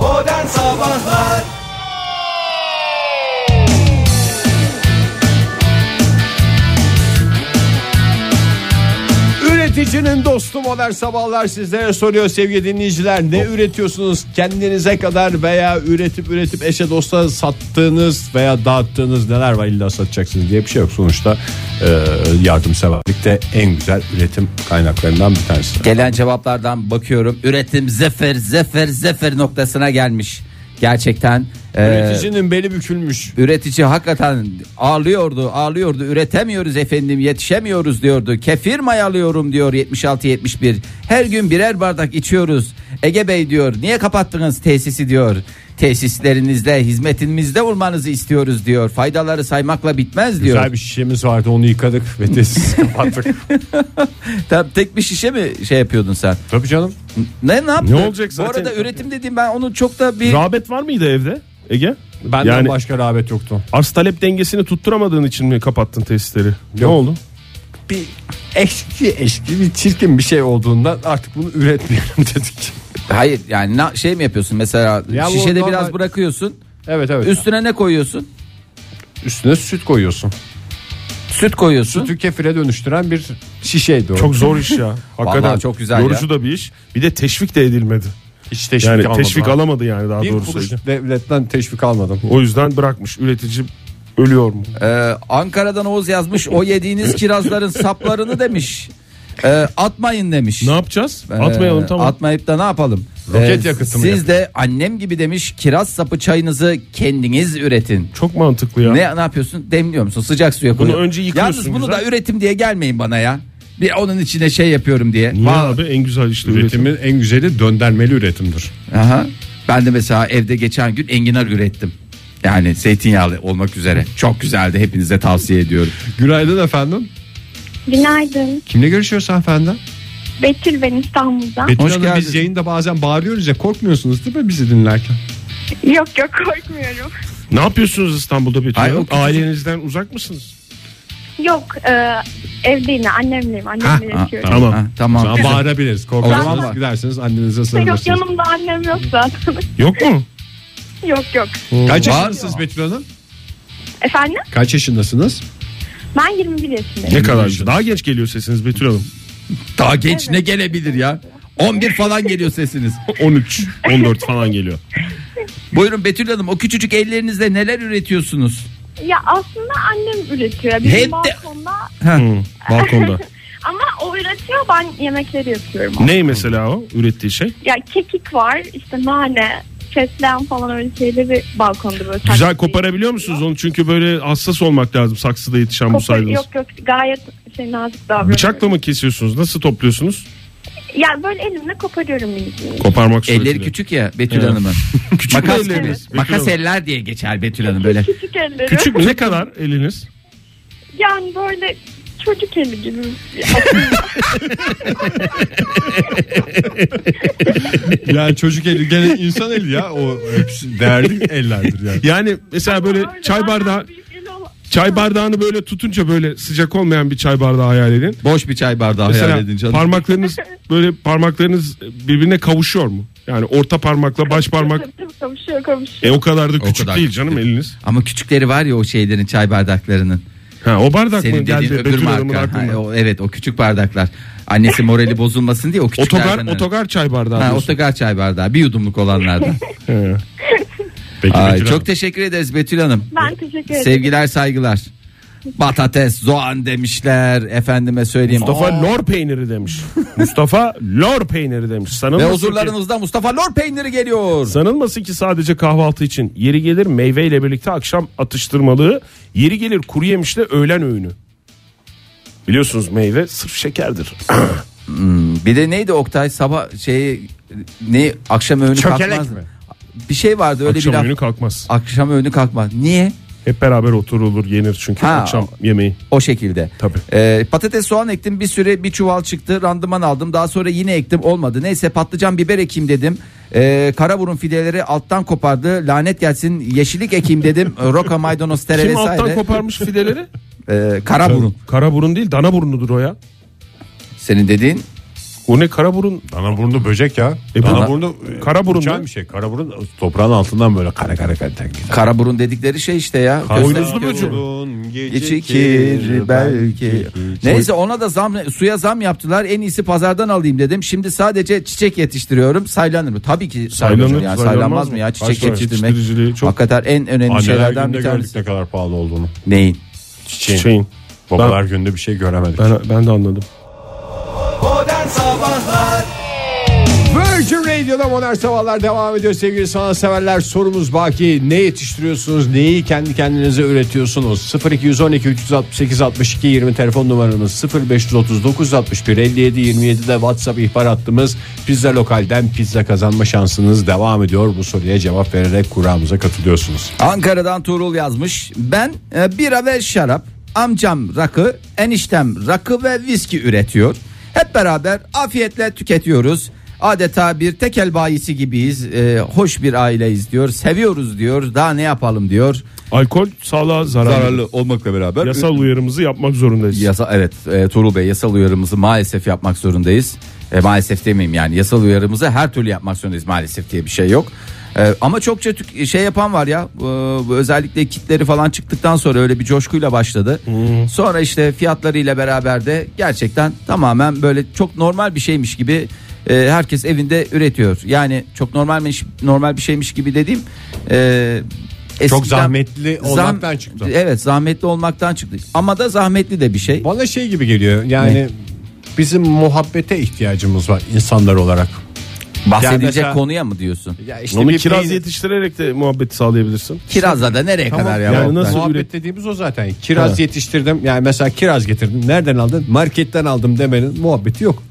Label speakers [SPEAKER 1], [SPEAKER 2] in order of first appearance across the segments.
[SPEAKER 1] Modern Sabahlar
[SPEAKER 2] Üreticinin dostu modern sabahlar sizlere soruyor sevgili dinleyiciler. Ne üretiyorsunuz kendinize kadar veya üretip üretip eşe dosta sattığınız veya dağıttığınız neler var illa satacaksınız diye bir şey yok. Sonuçta e, yardımseverlik de en güzel üretim kaynaklarından bir tanesi.
[SPEAKER 3] Gelen cevaplardan bakıyorum. Üretim zefer zefer zefer noktasına gelmiş. Gerçekten
[SPEAKER 2] Ee,
[SPEAKER 3] e,
[SPEAKER 2] Üreticinin beli bükülmüş.
[SPEAKER 3] üretici hakikaten ağlıyordu ağlıyordu. Üretemiyoruz efendim yetişemiyoruz diyordu. Kefir mayalıyorum diyor 76-71. Her gün birer bardak içiyoruz. Ege Bey diyor niye kapattınız tesisi diyor. Tesislerinizde hizmetinizde olmanızı istiyoruz diyor. Faydaları saymakla bitmez diyor.
[SPEAKER 2] Güzel bir şişemiz vardı onu yıkadık ve tesis kapattık.
[SPEAKER 3] Tam tek bir şişe mi şey yapıyordun sen?
[SPEAKER 2] Tabii canım.
[SPEAKER 3] Ne ne yaptın?
[SPEAKER 4] Ne olacak zaten?
[SPEAKER 3] Bu arada üretim dediğim ben onu çok da bir
[SPEAKER 4] Rağbet var mıydı evde Ege?
[SPEAKER 2] Benden
[SPEAKER 4] yani
[SPEAKER 2] başka rağbet yoktu.
[SPEAKER 4] arz talep dengesini tutturamadığın için mi kapattın tesisleri? Ne
[SPEAKER 2] Yok.
[SPEAKER 4] oldu?
[SPEAKER 2] Bir eşki eşki bir çirkin bir şey olduğundan artık bunu üretmiyorum dedik.
[SPEAKER 3] Hayır yani na- şey mi yapıyorsun mesela
[SPEAKER 2] Ya bu
[SPEAKER 3] şişede
[SPEAKER 2] normal-
[SPEAKER 3] biraz bırakıyorsun.
[SPEAKER 2] Evet evet.
[SPEAKER 3] Üstüne ne koyuyorsun?
[SPEAKER 2] üstüne süt koyuyorsun.
[SPEAKER 3] Süt koyuyorsun.
[SPEAKER 2] Sütü kefire dönüştüren bir şişeydi o.
[SPEAKER 4] Çok zor iş ya. Hakikaten
[SPEAKER 3] çok güzel
[SPEAKER 4] yorucu da bir iş. Bir de teşvik de edilmedi.
[SPEAKER 2] hiç teşvik
[SPEAKER 4] Yani
[SPEAKER 2] almadım.
[SPEAKER 4] teşvik
[SPEAKER 2] ha.
[SPEAKER 4] alamadı yani daha
[SPEAKER 2] Bir
[SPEAKER 4] doğrusu.
[SPEAKER 2] kuruş devletten teşvik almadım.
[SPEAKER 4] O yüzden bırakmış üretici ölüyor mu?
[SPEAKER 3] Ee, Ankara'dan Oğuz yazmış. O yediğiniz kirazların saplarını demiş. Ee, atmayın demiş.
[SPEAKER 4] Ne yapacağız?
[SPEAKER 3] Ee,
[SPEAKER 4] Atmayalım tamam.
[SPEAKER 3] Atmayıp da ne yapalım? Ee,
[SPEAKER 2] Roket yakıtı mı
[SPEAKER 3] Siz de annem gibi demiş kiraz sapı çayınızı kendiniz üretin.
[SPEAKER 4] Çok mantıklı ya.
[SPEAKER 3] Ne ne yapıyorsun? Demliyor musun? Sıcak suya koyuyorsun.
[SPEAKER 4] önce yıkıyorsun
[SPEAKER 3] Yalnız bunu
[SPEAKER 4] güzel.
[SPEAKER 3] da üretim diye gelmeyin bana ya. Bir onun içine şey yapıyorum diye.
[SPEAKER 4] Niye abi en güzel işte üretim.
[SPEAKER 2] Üretimin en güzeli döndermeli üretimdir.
[SPEAKER 3] Aha. Ben de mesela evde geçen gün enginar ürettim. Yani zeytinyağlı olmak üzere. Çok güzeldi. Hepinize tavsiye ediyorum.
[SPEAKER 2] Günaydın efendim.
[SPEAKER 5] Günaydın.
[SPEAKER 2] Kimle görüşüyoruz efendim?
[SPEAKER 5] Betül ben İstanbul'dan.
[SPEAKER 2] Betül
[SPEAKER 3] Hoş
[SPEAKER 2] Hanım
[SPEAKER 3] geldiniz.
[SPEAKER 2] biz yayında bazen bağırıyoruz ya korkmuyorsunuz değil mi bizi dinlerken?
[SPEAKER 5] Yok yok korkmuyorum.
[SPEAKER 4] Ne yapıyorsunuz İstanbul'da Betül
[SPEAKER 3] Ay,
[SPEAKER 4] Hanım?
[SPEAKER 3] o küçücük-
[SPEAKER 4] Ailenizden uzak mısınız?
[SPEAKER 5] Yok e, evde yine annemleyim. Annemle
[SPEAKER 3] Ha,
[SPEAKER 5] yaşıyorum.
[SPEAKER 4] Tamam.
[SPEAKER 3] Ha,
[SPEAKER 2] O
[SPEAKER 3] tamam.
[SPEAKER 2] zaman bağırabiliriz.
[SPEAKER 3] O zaman-
[SPEAKER 2] Korkuyorsanız giderseniz annenize
[SPEAKER 5] Yok
[SPEAKER 2] sarılırsınız.
[SPEAKER 5] yanımda annem yok zaten.
[SPEAKER 4] Yok mu?
[SPEAKER 5] yok yok.
[SPEAKER 2] Kaç
[SPEAKER 3] Bağır-
[SPEAKER 2] yaşındasınız Betül Hanım?
[SPEAKER 5] Efendim?
[SPEAKER 2] Kaç yaşındasınız?
[SPEAKER 5] Ben 21 yaşındayım.
[SPEAKER 4] Ne kadar? Daha genç geliyor sesiniz Betül Hanım.
[SPEAKER 3] Daha genç ne gelebilir ya? 11 falan geliyor sesiniz.
[SPEAKER 4] 13, 14 falan geliyor.
[SPEAKER 3] Buyurun Betül Hanım o küçücük ellerinizle neler üretiyorsunuz?
[SPEAKER 5] Ya aslında annem üretiyor. Bizim
[SPEAKER 3] Hep de-
[SPEAKER 5] balkonda
[SPEAKER 4] Hı, Hmm, balkonda.
[SPEAKER 5] ama o üretiyor ben yemekleri yapıyorum.
[SPEAKER 4] Ney mesela o ürettiği şey?
[SPEAKER 5] Ya kekik var işte nane fesleğen falan öyle şeyleri balkonda böyle.
[SPEAKER 4] Güzel
[SPEAKER 5] saklayıp-
[SPEAKER 4] koparabiliyor musunuz onu? Çünkü böyle hassas olmak lazım saksıda yetişen bu
[SPEAKER 5] Kopar-
[SPEAKER 4] saydığınız.
[SPEAKER 5] Yok yok gayet şey nazik davranıyorum.
[SPEAKER 4] Bıçakla mı kesiyorsunuz? Nasıl topluyorsunuz?
[SPEAKER 5] Ya böyle elimle koparıyorum minik minik.
[SPEAKER 4] Koparmak suretiyle.
[SPEAKER 3] Elleri küçük ya Betül
[SPEAKER 4] Evet.
[SPEAKER 3] Hanım'ın. Makas gibi.
[SPEAKER 4] elleriniz Betül
[SPEAKER 3] Makas
[SPEAKER 4] Hanım.
[SPEAKER 3] eller diye geçer Betül Hanım böyle.
[SPEAKER 5] Küçük ellerim.
[SPEAKER 4] Küçük mü? Ne kadar eliniz?
[SPEAKER 5] Yani böyle çocuk eli gibi.
[SPEAKER 2] yani çocuk eli gene insan eli ya. O hepsi değerli ellerdir yani.
[SPEAKER 4] Yani mesela böyle çay bardağı çay bardağını böyle tutunca böyle sıcak olmayan bir çay bardağı hayal edin.
[SPEAKER 3] Boş bir çay bardağı hayal edin
[SPEAKER 4] Mesela
[SPEAKER 3] canım.
[SPEAKER 4] parmaklarınız böyle parmaklarınız birbirine kavuşuyor mu? Yani orta parmakla baş parmak
[SPEAKER 5] Kavuşuyor kavuşuyor.
[SPEAKER 4] e o kadar da
[SPEAKER 3] O
[SPEAKER 4] küçük
[SPEAKER 3] kadar
[SPEAKER 4] değil
[SPEAKER 3] küçük
[SPEAKER 4] canım
[SPEAKER 3] değil.
[SPEAKER 4] eliniz.
[SPEAKER 3] Ama küçükleri var ya o şeylerin çay bardaklarının.
[SPEAKER 4] Ha o bardak mı
[SPEAKER 3] Senin dediğin
[SPEAKER 4] geldi
[SPEAKER 3] öbür
[SPEAKER 4] Betül Hanım'ın
[SPEAKER 3] marka.
[SPEAKER 4] aklına?
[SPEAKER 3] Ha, o, evet o küçük bardaklar. Annesi morali bozulmasın diye o küçüklerden.
[SPEAKER 4] Otogar
[SPEAKER 3] alır.
[SPEAKER 4] otogar çay bardağı.
[SPEAKER 3] Ha,
[SPEAKER 4] diyorsun.
[SPEAKER 3] otogar çay bardağı bir yudumluk olanlardan.
[SPEAKER 4] He.
[SPEAKER 2] Peki
[SPEAKER 3] Ay,
[SPEAKER 2] Betül Hanım.
[SPEAKER 3] çok teşekkür ederiz Betül Hanım.
[SPEAKER 5] Ben teşekkür ederim.
[SPEAKER 3] Sevgiler saygılar. Patates, soğan demişler efendime söyleyeyim.
[SPEAKER 4] Mustafa
[SPEAKER 3] Aa,
[SPEAKER 4] lor peyniri demiş. Mustafa lor peyniri demiş.
[SPEAKER 3] Ve
[SPEAKER 4] Sanılmasın ki,
[SPEAKER 3] huzurlarınızda Mustafa Lor peyniri geliyor.
[SPEAKER 4] sanılmasın ki sadece kahvaltı için. Yeri gelir meyveyle birlikte akşam atıştırmalığı. Yeri gelir kuru yemişle öğlen öğünü. Biliyorsunuz meyve sırf şekerdir.
[SPEAKER 3] Bir de neydi Oktay sabah şey ne akşam öğünü
[SPEAKER 2] Çökelek
[SPEAKER 3] kalkmaz.
[SPEAKER 2] mi?
[SPEAKER 3] Bir şey vardı öyle
[SPEAKER 4] akşam
[SPEAKER 3] bir laf.
[SPEAKER 4] öğünü kalkmaz.
[SPEAKER 3] Akşam öğünü kalkmaz. Niye?
[SPEAKER 4] Hep beraber oturulur yenir çünkü
[SPEAKER 3] Ha.
[SPEAKER 4] akşam yemeği.
[SPEAKER 3] O şekilde.
[SPEAKER 4] Tabii.
[SPEAKER 3] Ee, patates soğan ektim bir süre bir çuval çıktı randıman aldım daha sonra yine ektim olmadı. Neyse patlıcan biber ekeyim dedim. Ee, karaburun fideleri alttan kopardı lanet gelsin yeşillik ekeyim dedim. Ee, Roka maydanoz tere
[SPEAKER 4] Kim
[SPEAKER 3] vesaire.
[SPEAKER 4] alttan koparmış fideleri?
[SPEAKER 3] Ee, karaburun
[SPEAKER 4] Kara burun değil dana burunudur o ya.
[SPEAKER 3] senin dediğin
[SPEAKER 4] O ne karaburun
[SPEAKER 2] Dana burnu böcek ya.
[SPEAKER 4] E bu-
[SPEAKER 2] dana, burnu e,
[SPEAKER 4] Kara burun
[SPEAKER 2] uçan
[SPEAKER 4] mu?
[SPEAKER 2] bir şey. Kara burun toprağın altından böyle kara kara kara kara.
[SPEAKER 3] Karaburun dedikleri şey işte ya. Göster- göster-
[SPEAKER 4] boynuzlu böcek.
[SPEAKER 2] Burun
[SPEAKER 3] Geçikir belki. Neyse ona da zam suya zam yaptılar. En iyisi pazardan alayım dedim. Şimdi sadece çiçek yetiştiriyorum. Saylanır mı? Tabii ki saylanır.
[SPEAKER 4] Saylanır,
[SPEAKER 3] yani
[SPEAKER 4] saylanmaz
[SPEAKER 3] saylanmaz
[SPEAKER 4] mı?
[SPEAKER 3] mı ya çiçek
[SPEAKER 4] Başka yetiştiriciliği
[SPEAKER 3] yetiştirmek?
[SPEAKER 4] çok-
[SPEAKER 3] Hakikaten en önemli
[SPEAKER 2] Anneler
[SPEAKER 3] şeylerden
[SPEAKER 2] günde
[SPEAKER 3] bir
[SPEAKER 2] gördük
[SPEAKER 3] tanesi.
[SPEAKER 2] ne kadar pahalı olduğunu.
[SPEAKER 3] Neyin?
[SPEAKER 2] Çiçeğin.
[SPEAKER 4] şeyin.
[SPEAKER 2] Babalar günde bir şey göremedik.
[SPEAKER 4] Ben, ben de anladım.
[SPEAKER 2] Virgin Radio'da Modern Sabahlar devam ediyor sevgili sanatseverler. Sorumuz baki ne yetiştiriyorsunuz? Neyi kendi kendinize üretiyorsunuz? 0212 368 62 20 telefon numaramız 0539 61 57 27 de WhatsApp ihbar hattımız. Pizza Lokal'den pizza kazanma şansınız devam ediyor. Bu soruya cevap vererek kuramıza katılıyorsunuz.
[SPEAKER 3] Ankara'dan Tuğrul yazmış. Ben e, bira ve şarap, amcam rakı, eniştem rakı ve viski üretiyor. Hep beraber afiyetle tüketiyoruz. Adeta bir tekel bayisi gibiyiz. E, hoş bir aileyiz diyor. Seviyoruz diyor. Daha ne yapalım diyor.
[SPEAKER 4] Alkol sağlığa zararlı.
[SPEAKER 3] Zararlı olmakla beraber.
[SPEAKER 4] Yasal uyarımızı yapmak zorundayız.
[SPEAKER 3] Yasa, evet e, Tuğrul Bey yasal uyarımızı maalesef yapmak zorundayız. E, maalesef demeyeyim yani yasal uyarımızı her türlü yapmak zorundayız maalesef diye bir şey yok. E, ama çokça tük- şey yapan var ya e, bu özellikle kitleri falan çıktıktan sonra öyle bir coşkuyla başladı. Sonra işte fiyatlarıyla beraber de gerçekten tamamen böyle çok normal bir şeymiş gibi e, herkes evinde üretiyor. Yani çok normalmiş normal bir şeymiş gibi dediğim e, eskiden-
[SPEAKER 2] Çok zahmetli
[SPEAKER 3] Zam-
[SPEAKER 2] olmaktan çıktı.
[SPEAKER 3] Evet zahmetli olmaktan çıktı. Ama da zahmetli de bir şey.
[SPEAKER 2] Bana şey gibi geliyor yani
[SPEAKER 3] Ne?
[SPEAKER 2] bizim muhabbete ihtiyacımız var insanlar olarak.
[SPEAKER 3] Bahsedilecek
[SPEAKER 2] Yani mesela-
[SPEAKER 3] konuya mı diyorsun?
[SPEAKER 2] Ya
[SPEAKER 4] Onu kiraz yetiştirerek de muhabbeti sağlayabilirsin.
[SPEAKER 3] Kirazla da nereye kadar ya?
[SPEAKER 4] yani
[SPEAKER 3] Oktay?
[SPEAKER 4] nasıl-
[SPEAKER 2] Muhabbet
[SPEAKER 4] üret-
[SPEAKER 2] dediğimiz o zaten. Kiraz yetiştirdim. Yani mesela kiraz getirdim. Nereden aldın? Marketten aldım demenin muhabbeti yok.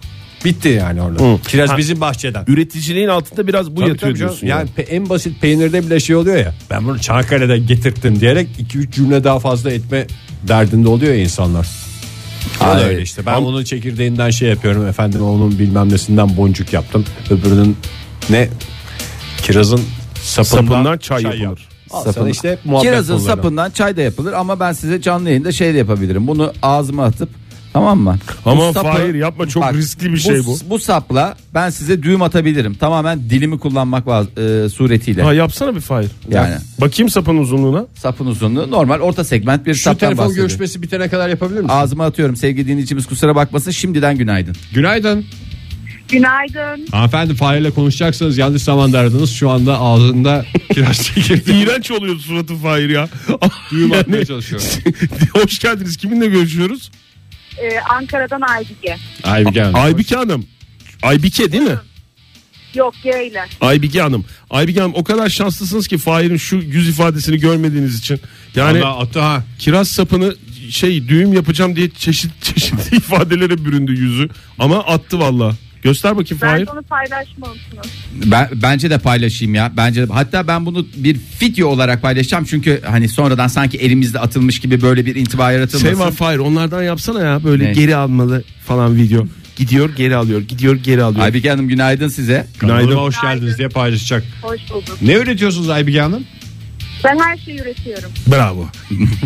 [SPEAKER 2] Bitti yani orada.
[SPEAKER 4] Hı.
[SPEAKER 2] Kiraz
[SPEAKER 4] Ha.
[SPEAKER 2] bizim bahçeden.
[SPEAKER 4] Üreticiliğin altında biraz bu
[SPEAKER 2] Tabii
[SPEAKER 4] yatıyor
[SPEAKER 2] tabii canım.
[SPEAKER 4] diyorsun.
[SPEAKER 2] Yani
[SPEAKER 4] yani.
[SPEAKER 2] pe- en basit peynirde bile şey oluyor ya. Ben bunu Çanakkale'den getirttim diyerek 2-3 cümle daha fazla etme derdinde oluyor ya insanlar. O da
[SPEAKER 3] Hayır.
[SPEAKER 2] öyle işte. Ben onun çekirdeğinden şey yapıyorum efendim onun bilmem nesinden boncuk yaptım. Öbürünün ne kirazın sapından,
[SPEAKER 4] Sapından çay yapılır.
[SPEAKER 2] yap. Al sana
[SPEAKER 3] Sapından-
[SPEAKER 2] işte muhabbet
[SPEAKER 3] Kirazın
[SPEAKER 2] bunları.
[SPEAKER 3] sapından çay da yapılır ama ben size canlı yayında şey de yapabilirim. Bunu ağzıma atıp tamam mı?
[SPEAKER 4] Ama Fahir yapma, çok riskli bir şey bu.
[SPEAKER 3] Bu sapla ben size düğüm atabilirim. Tamamen dilimi kullanmak vaz- e, suretiyle.
[SPEAKER 4] Ha yapsana bir fire.
[SPEAKER 3] Yani.
[SPEAKER 4] Bakayım sapın uzunluğuna.
[SPEAKER 3] Sapın uzunluğu normal orta segment bir
[SPEAKER 2] Şu
[SPEAKER 3] saptan
[SPEAKER 2] telefon
[SPEAKER 3] bahsediyorum.
[SPEAKER 2] görüşmesi bitene kadar yapabilir misin?
[SPEAKER 3] Ağzıma atıyorum sevgili dinleyicimiz kusura bakmasın şimdiden günaydın.
[SPEAKER 2] Günaydın.
[SPEAKER 5] Günaydın.
[SPEAKER 2] Hanımefendi Fahir ile konuşacaksanız yanlış zamanda aradınız. Şu anda ağzında kiraz çekirdeği
[SPEAKER 4] İğrenç oluyor suratı Fahir ya.
[SPEAKER 2] düğüm atmaya
[SPEAKER 4] Yani-
[SPEAKER 2] çalışıyor.
[SPEAKER 4] Hoş geldiniz. Kiminle görüşüyoruz?
[SPEAKER 5] Ee, Ankara'dan Aybike.
[SPEAKER 2] Aybike Hanım.
[SPEAKER 4] Aybike Hanım. Aybike değil mi?
[SPEAKER 5] Yok yayla.
[SPEAKER 4] Aybike Hanım. Aybike Hanım o kadar şanslısınız ki Fahir'in şu yüz ifadesini görmediğiniz için. Yani
[SPEAKER 2] Allah attı ha.
[SPEAKER 4] kiraz sapını şey düğüm yapacağım diye çeşit çeşitli ifadelere büründü yüzü. Ama attı valla. Göster bakayım
[SPEAKER 5] Ben
[SPEAKER 4] Fahir.
[SPEAKER 5] de onu paylaşmalısınız.
[SPEAKER 3] Ben, bence de paylaşayım ya. Bence de- hatta ben bunu bir video olarak paylaşacağım çünkü hani sonradan sanki elimizde atılmış gibi böyle bir intiba yaratılmasın.
[SPEAKER 4] Şey var Fahir onlardan yapsana ya böyle
[SPEAKER 3] Ne?
[SPEAKER 4] geri almalı falan video. Gidiyor geri alıyor gidiyor geri alıyor.
[SPEAKER 3] Aybike Hanım günaydın size.
[SPEAKER 4] Günaydın.
[SPEAKER 2] Kanalıma hoş geldiniz diye paylaşacak.
[SPEAKER 5] Hoş bulduk.
[SPEAKER 2] Ne üretiyorsunuz Aybike Hanım?
[SPEAKER 5] Ben her şeyi üretiyorum.
[SPEAKER 4] Bravo.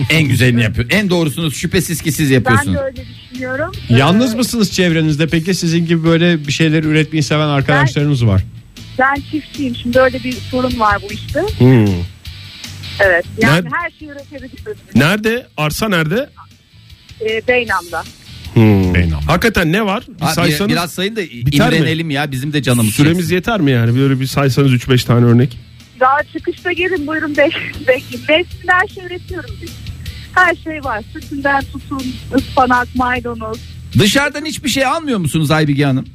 [SPEAKER 3] En güzelini yapıyor. En doğrusunu şüphesiz ki siz
[SPEAKER 5] Ben
[SPEAKER 3] yapıyorsunuz.
[SPEAKER 5] de öyle düşünüyorum.
[SPEAKER 2] Yalnız
[SPEAKER 5] Ee,
[SPEAKER 2] mısınız çevrenizde? Peki sizin gibi böyle bir şeyler üretmeyi seven arkadaşlarınız var.
[SPEAKER 5] Ben çiftçiyim. Şimdi öyle bir sorun var bu işte.
[SPEAKER 3] Hmm.
[SPEAKER 5] Evet. Yani
[SPEAKER 4] Nerede-
[SPEAKER 5] her şeyi üretebiliriz.
[SPEAKER 4] Nerede? Arsa nerede?
[SPEAKER 5] Ee, Beynam'da.
[SPEAKER 3] Hmm.
[SPEAKER 2] Beynam.
[SPEAKER 4] Hakikaten ne var? Bir
[SPEAKER 3] Abi,
[SPEAKER 4] saysanız
[SPEAKER 3] biraz sayın da
[SPEAKER 4] biter mi?
[SPEAKER 3] imrenelim ya bizim de canımız.
[SPEAKER 4] süremiz
[SPEAKER 3] çeksin.
[SPEAKER 4] yeter mi yani? Böyle bir saysanız 3-5 tane örnek.
[SPEAKER 5] Daha çıkışta gelin buyurun bek- bekleyin. Besin her şey üretiyorum biz. Her şey var. Sütünden tutun, ıspanak, maydanoz,
[SPEAKER 3] Dışarıdan hiçbir şey almıyor musunuz Aybike Hanım?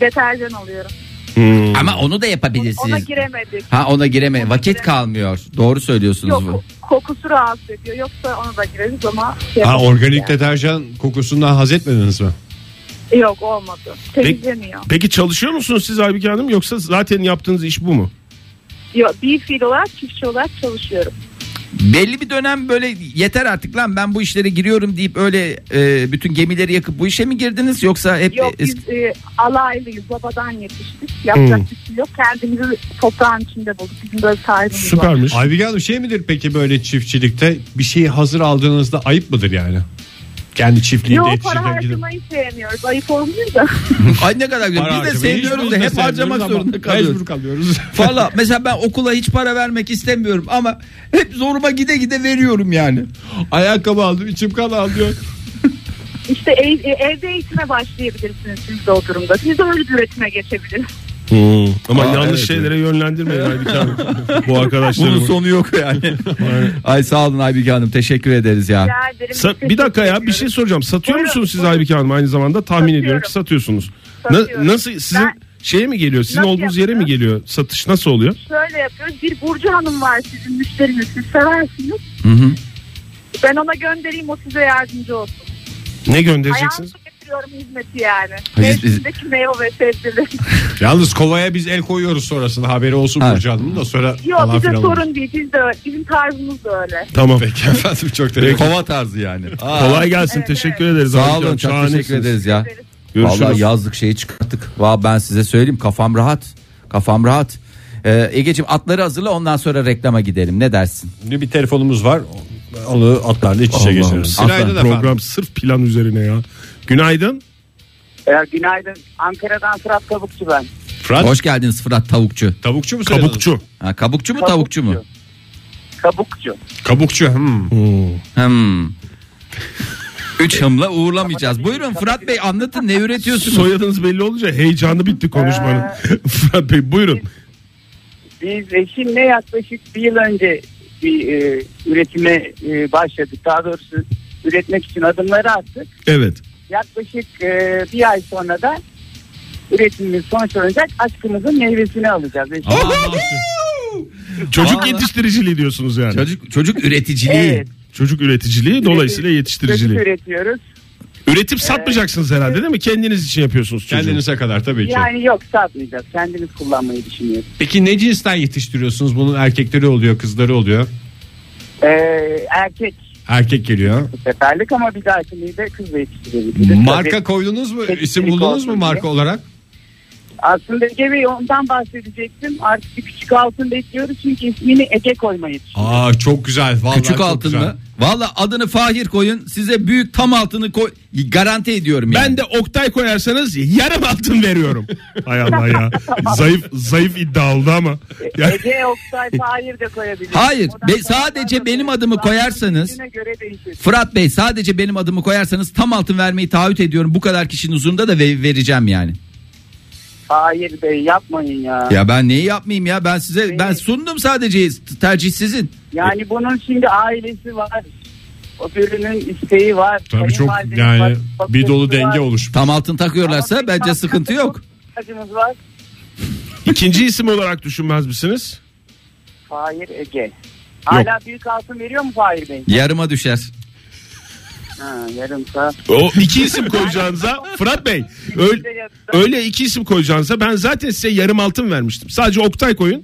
[SPEAKER 5] deterjan alıyorum.
[SPEAKER 4] Hmm.
[SPEAKER 3] Ama onu da yapabilirsiniz.
[SPEAKER 5] Ona giremedik.
[SPEAKER 3] ha ona gireme
[SPEAKER 5] Ona
[SPEAKER 3] vakit
[SPEAKER 5] giremedim.
[SPEAKER 3] kalmıyor. Doğru söylüyorsunuz bu.
[SPEAKER 5] Yok kokusu rahatsız ediyor. Yoksa ona da gireriz ama. şey
[SPEAKER 2] Ha,
[SPEAKER 5] yapamayız
[SPEAKER 2] organik deterjan kokusundan haz etmediniz mi?
[SPEAKER 5] yani. Yok olmadı. Temizlemiyor.
[SPEAKER 4] Peki çalışıyor musunuz siz Aybike Hanım yoksa zaten yaptığınız iş bu mu?
[SPEAKER 5] Yok, bir fiil olarak çiftçi olarak çalışıyorum.
[SPEAKER 3] Belli bir dönem böyle yeter artık lan ben bu işlere giriyorum deyip öyle e, bütün gemileri yakıp bu işe mi girdiniz yoksa hep
[SPEAKER 5] Yok
[SPEAKER 3] eski-
[SPEAKER 5] biz e, alaylıyız. Babadan yetiştik. Yapacak
[SPEAKER 4] Hmm.
[SPEAKER 5] bir şey yok. Kendimizi toprağın içinde bulduk. Bizim böyle sahibimiz var.
[SPEAKER 4] Süpermiş.
[SPEAKER 2] Aybike Hanım şey midir peki böyle çiftçilikte bir şeyi hazır aldığınızda ayıp mıdır yani? Kendi çiftliğinde
[SPEAKER 5] Yok para
[SPEAKER 2] yetişirken gidip.
[SPEAKER 5] harcamayı sevmiyoruz. Ayıp olmuyor da.
[SPEAKER 3] Ay ne kadar güzel.
[SPEAKER 2] Para
[SPEAKER 3] Biz de
[SPEAKER 2] harcamayı
[SPEAKER 3] sevmiyoruz
[SPEAKER 2] hiç
[SPEAKER 3] da
[SPEAKER 2] biz de
[SPEAKER 3] hep harcamak
[SPEAKER 2] sevmiyoruz ama
[SPEAKER 3] zorunda kalıyoruz.
[SPEAKER 2] Mecbur kalıyoruz.
[SPEAKER 3] Valla mesela ben okula hiç para vermek istemiyorum ama hep zoruma gide gide veriyorum yani.
[SPEAKER 2] Ayakkabı aldım içim kan alıyor.
[SPEAKER 5] İşte ev- e, evde eğitime başlayabilirsiniz siz de o durumda. Siz de öyle bir üretime geçebilirsiniz.
[SPEAKER 4] Hmm. Ama
[SPEAKER 3] Aa,
[SPEAKER 4] yanlış
[SPEAKER 3] evet,
[SPEAKER 4] şeylere yönlendirmeyin Aybike Hanım. Bu arkadaşlarımı.
[SPEAKER 3] Bunun sonu yok yani. Ay sağ olun Aybike Hanım teşekkür ederiz ya.
[SPEAKER 5] Rica ederim.
[SPEAKER 4] Sa- bir dakika ya bir şey soracağım. Satıyor
[SPEAKER 5] Buyurun,
[SPEAKER 4] musunuz siz
[SPEAKER 5] buyurun.
[SPEAKER 4] Aybike Hanım aynı zamanda? Tahmin
[SPEAKER 5] Satıyorum.
[SPEAKER 4] ediyorum ki satıyorsunuz. Na-
[SPEAKER 5] Satıyorum.
[SPEAKER 4] nasıl sizin
[SPEAKER 5] Ben-
[SPEAKER 4] şeye mi geliyor? Sizin
[SPEAKER 5] Nasıl
[SPEAKER 4] olduğunuz yere mi
[SPEAKER 5] yapacağız?
[SPEAKER 4] geliyor? Satış nasıl oluyor?
[SPEAKER 5] Şöyle yapıyoruz. Bir Burcu Hanım var sizin müşteriniz. Siz seversiniz. Ben ona göndereyim o size yardımcı olsun.
[SPEAKER 4] Ne göndereceksiniz?
[SPEAKER 5] Ayağınızı getiriyorum hizmeti yani.
[SPEAKER 3] Hayır, biz-
[SPEAKER 5] Mevsimdeki meyve ve sebzeleri.
[SPEAKER 2] Yalnız kovaya biz el koyuyoruz sonrasında haberi olsun
[SPEAKER 3] Evet.
[SPEAKER 2] Burcu Hanım'ın da sonra
[SPEAKER 5] Yok bize
[SPEAKER 2] filan olur.
[SPEAKER 5] sorun değil. Biz de öyle. Bizim tarzımız da öyle.
[SPEAKER 4] Tamam.
[SPEAKER 2] Peki efendim çok teşekkür
[SPEAKER 3] Kova tarzı yani. Aa,
[SPEAKER 4] Kolay gelsin.
[SPEAKER 5] Evet,
[SPEAKER 4] teşekkür
[SPEAKER 5] evet.
[SPEAKER 4] ederiz.
[SPEAKER 3] Sağ
[SPEAKER 4] Aybike
[SPEAKER 3] olun
[SPEAKER 4] Hanım.
[SPEAKER 3] çok teşekkür
[SPEAKER 4] Şahanesiniz.
[SPEAKER 3] ederiz ya.
[SPEAKER 4] Görüşürüz.
[SPEAKER 3] Vallahi yazdık şeyi çıkarttık. Vallahi ben size söyleyeyim kafam rahat. Kafam rahat. Ee, Egeciğim atları hazırla ondan sonra reklama gidelim. Ne dersin?
[SPEAKER 2] ederim. Bir telefonumuz var. Onu atlarla iç içe
[SPEAKER 3] Allah'ım.
[SPEAKER 2] geçiririz.
[SPEAKER 3] Atlar
[SPEAKER 2] Günaydın efendim.
[SPEAKER 4] Program sırf plan üzerine ya. Günaydın.
[SPEAKER 1] Ee, günaydın. Ankara'dan Fırat Kabukçu ben.
[SPEAKER 2] Fırat
[SPEAKER 3] Hoş geldiniz Fırat Tavukçu.
[SPEAKER 2] tavukçu mu soyadınız?
[SPEAKER 4] Kabukçu.
[SPEAKER 3] Ha, kabukçu mu tavukçu mu?
[SPEAKER 1] Kabukçu.
[SPEAKER 2] Kabukçu. hmm.
[SPEAKER 3] Hmm. Üç hımla uğurlamayacağız. Buyurun Fırat Bey anlatın ne üretiyorsunuz?
[SPEAKER 4] Soyadınız belli olunca heyecanı bitti konuşmanın.
[SPEAKER 5] Ee.
[SPEAKER 4] Fırat Bey buyurun.
[SPEAKER 1] Biz eşimle yaklaşık bir yıl önce bir e, üretime e, başladık. Daha doğrusu üretmek için adımları attık.
[SPEAKER 4] Evet.
[SPEAKER 1] Yaklaşık e, bir ay sonra da üretimimiz sonuçlanacak. Aşkımızın meyvesini alacağız. Eşim-
[SPEAKER 3] Aman
[SPEAKER 4] Çocuk
[SPEAKER 3] Vallahi-
[SPEAKER 4] yetiştiriciliği diyorsunuz yani. Çocuk,
[SPEAKER 3] Çocuk çocuk üreticiliği.
[SPEAKER 1] Evet.
[SPEAKER 4] üreticiliği dolayısıyla
[SPEAKER 1] Çocuk
[SPEAKER 4] yetiştiriciliği.
[SPEAKER 1] üretiyoruz.
[SPEAKER 5] Ee,
[SPEAKER 4] Üretip satmayacaksınız herhalde değil mi? Kendiniz için yapıyorsunuz çocuğu.
[SPEAKER 2] Kendinize kadar tabii ki.
[SPEAKER 1] Yani yok satmayacağız. Kendimiz kullanmayı düşünüyoruz.
[SPEAKER 2] Peki ne cinsten yetiştiriyorsunuz? Bunun erkekleri oluyor, kızları oluyor.
[SPEAKER 1] Ee, erkek
[SPEAKER 2] Erkek geliyor.
[SPEAKER 1] bu seferlik ama bir dahakini de kız yetiştirebiliriz.
[SPEAKER 2] Marka koydunuz mu?
[SPEAKER 1] Tek
[SPEAKER 2] İsim
[SPEAKER 1] bir
[SPEAKER 2] buldunuz
[SPEAKER 1] olsun
[SPEAKER 2] mu
[SPEAKER 1] diye.
[SPEAKER 2] marka olarak?
[SPEAKER 1] Aslında Ege Bey ondan bahsedecektim. Artık bir küçük altın bekliyoruz çünkü ismini Ege koymayı düşünüyoruz.
[SPEAKER 2] Aa çok güzel. Vallahi
[SPEAKER 3] Küçük
[SPEAKER 2] çok
[SPEAKER 3] altın
[SPEAKER 2] güzel.
[SPEAKER 3] mı? Valla adını Fahir koyun. Size büyük tam altını koy. Garanti ediyorum yani.
[SPEAKER 4] Ben de Oktay koyarsanız yarım altın veriyorum. Hay Allah ya. Zayıf zayıf iddia oldu ama. Ya,
[SPEAKER 1] Ege Oktay Fahir de koyabiliriz.
[SPEAKER 3] Hayır,
[SPEAKER 1] Odan
[SPEAKER 3] be-
[SPEAKER 1] sonra
[SPEAKER 3] sadece
[SPEAKER 1] sonra
[SPEAKER 3] benim
[SPEAKER 1] da-
[SPEAKER 3] adımı koyarsanız-
[SPEAKER 1] Kişine göre değişir.
[SPEAKER 3] Fırat Bey sadece benim adımı koyarsanız tam altın vermeyi taahhüt ediyorum. Bu kadar kişinin huzurunda da ve- vereceğim yani.
[SPEAKER 1] Hayır Bey yapmayın ya.
[SPEAKER 3] Ya ben neyi yapmayayım ya? Ben size ben
[SPEAKER 1] Neyi?
[SPEAKER 3] sundum sadece T- tercih sizin.
[SPEAKER 1] Yani bunun şimdi ailesi var. O birinin isteği var.
[SPEAKER 2] Tabii çok
[SPEAKER 1] kayınvalidesi var,
[SPEAKER 2] yani bir
[SPEAKER 1] bakıcısı
[SPEAKER 2] dolu
[SPEAKER 1] var.
[SPEAKER 2] denge oluşmuş.
[SPEAKER 3] Tam altın takıyorlarsa
[SPEAKER 1] Ama
[SPEAKER 3] bence
[SPEAKER 1] tam-
[SPEAKER 3] sıkıntı yok.
[SPEAKER 1] Acımız var.
[SPEAKER 4] ikinci isim olarak düşünmez misiniz?
[SPEAKER 1] Fahir Ege. Hala büyük altın veriyor mu Fahir Bey?
[SPEAKER 3] Yarıma düşer.
[SPEAKER 1] Ha, yarım saat.
[SPEAKER 4] O iki isim koyacağınıza Fırat Bey öyle, öyle iki isim koyacağınıza ben zaten size yarım altın vermiştim. Sadece Oktay koyun.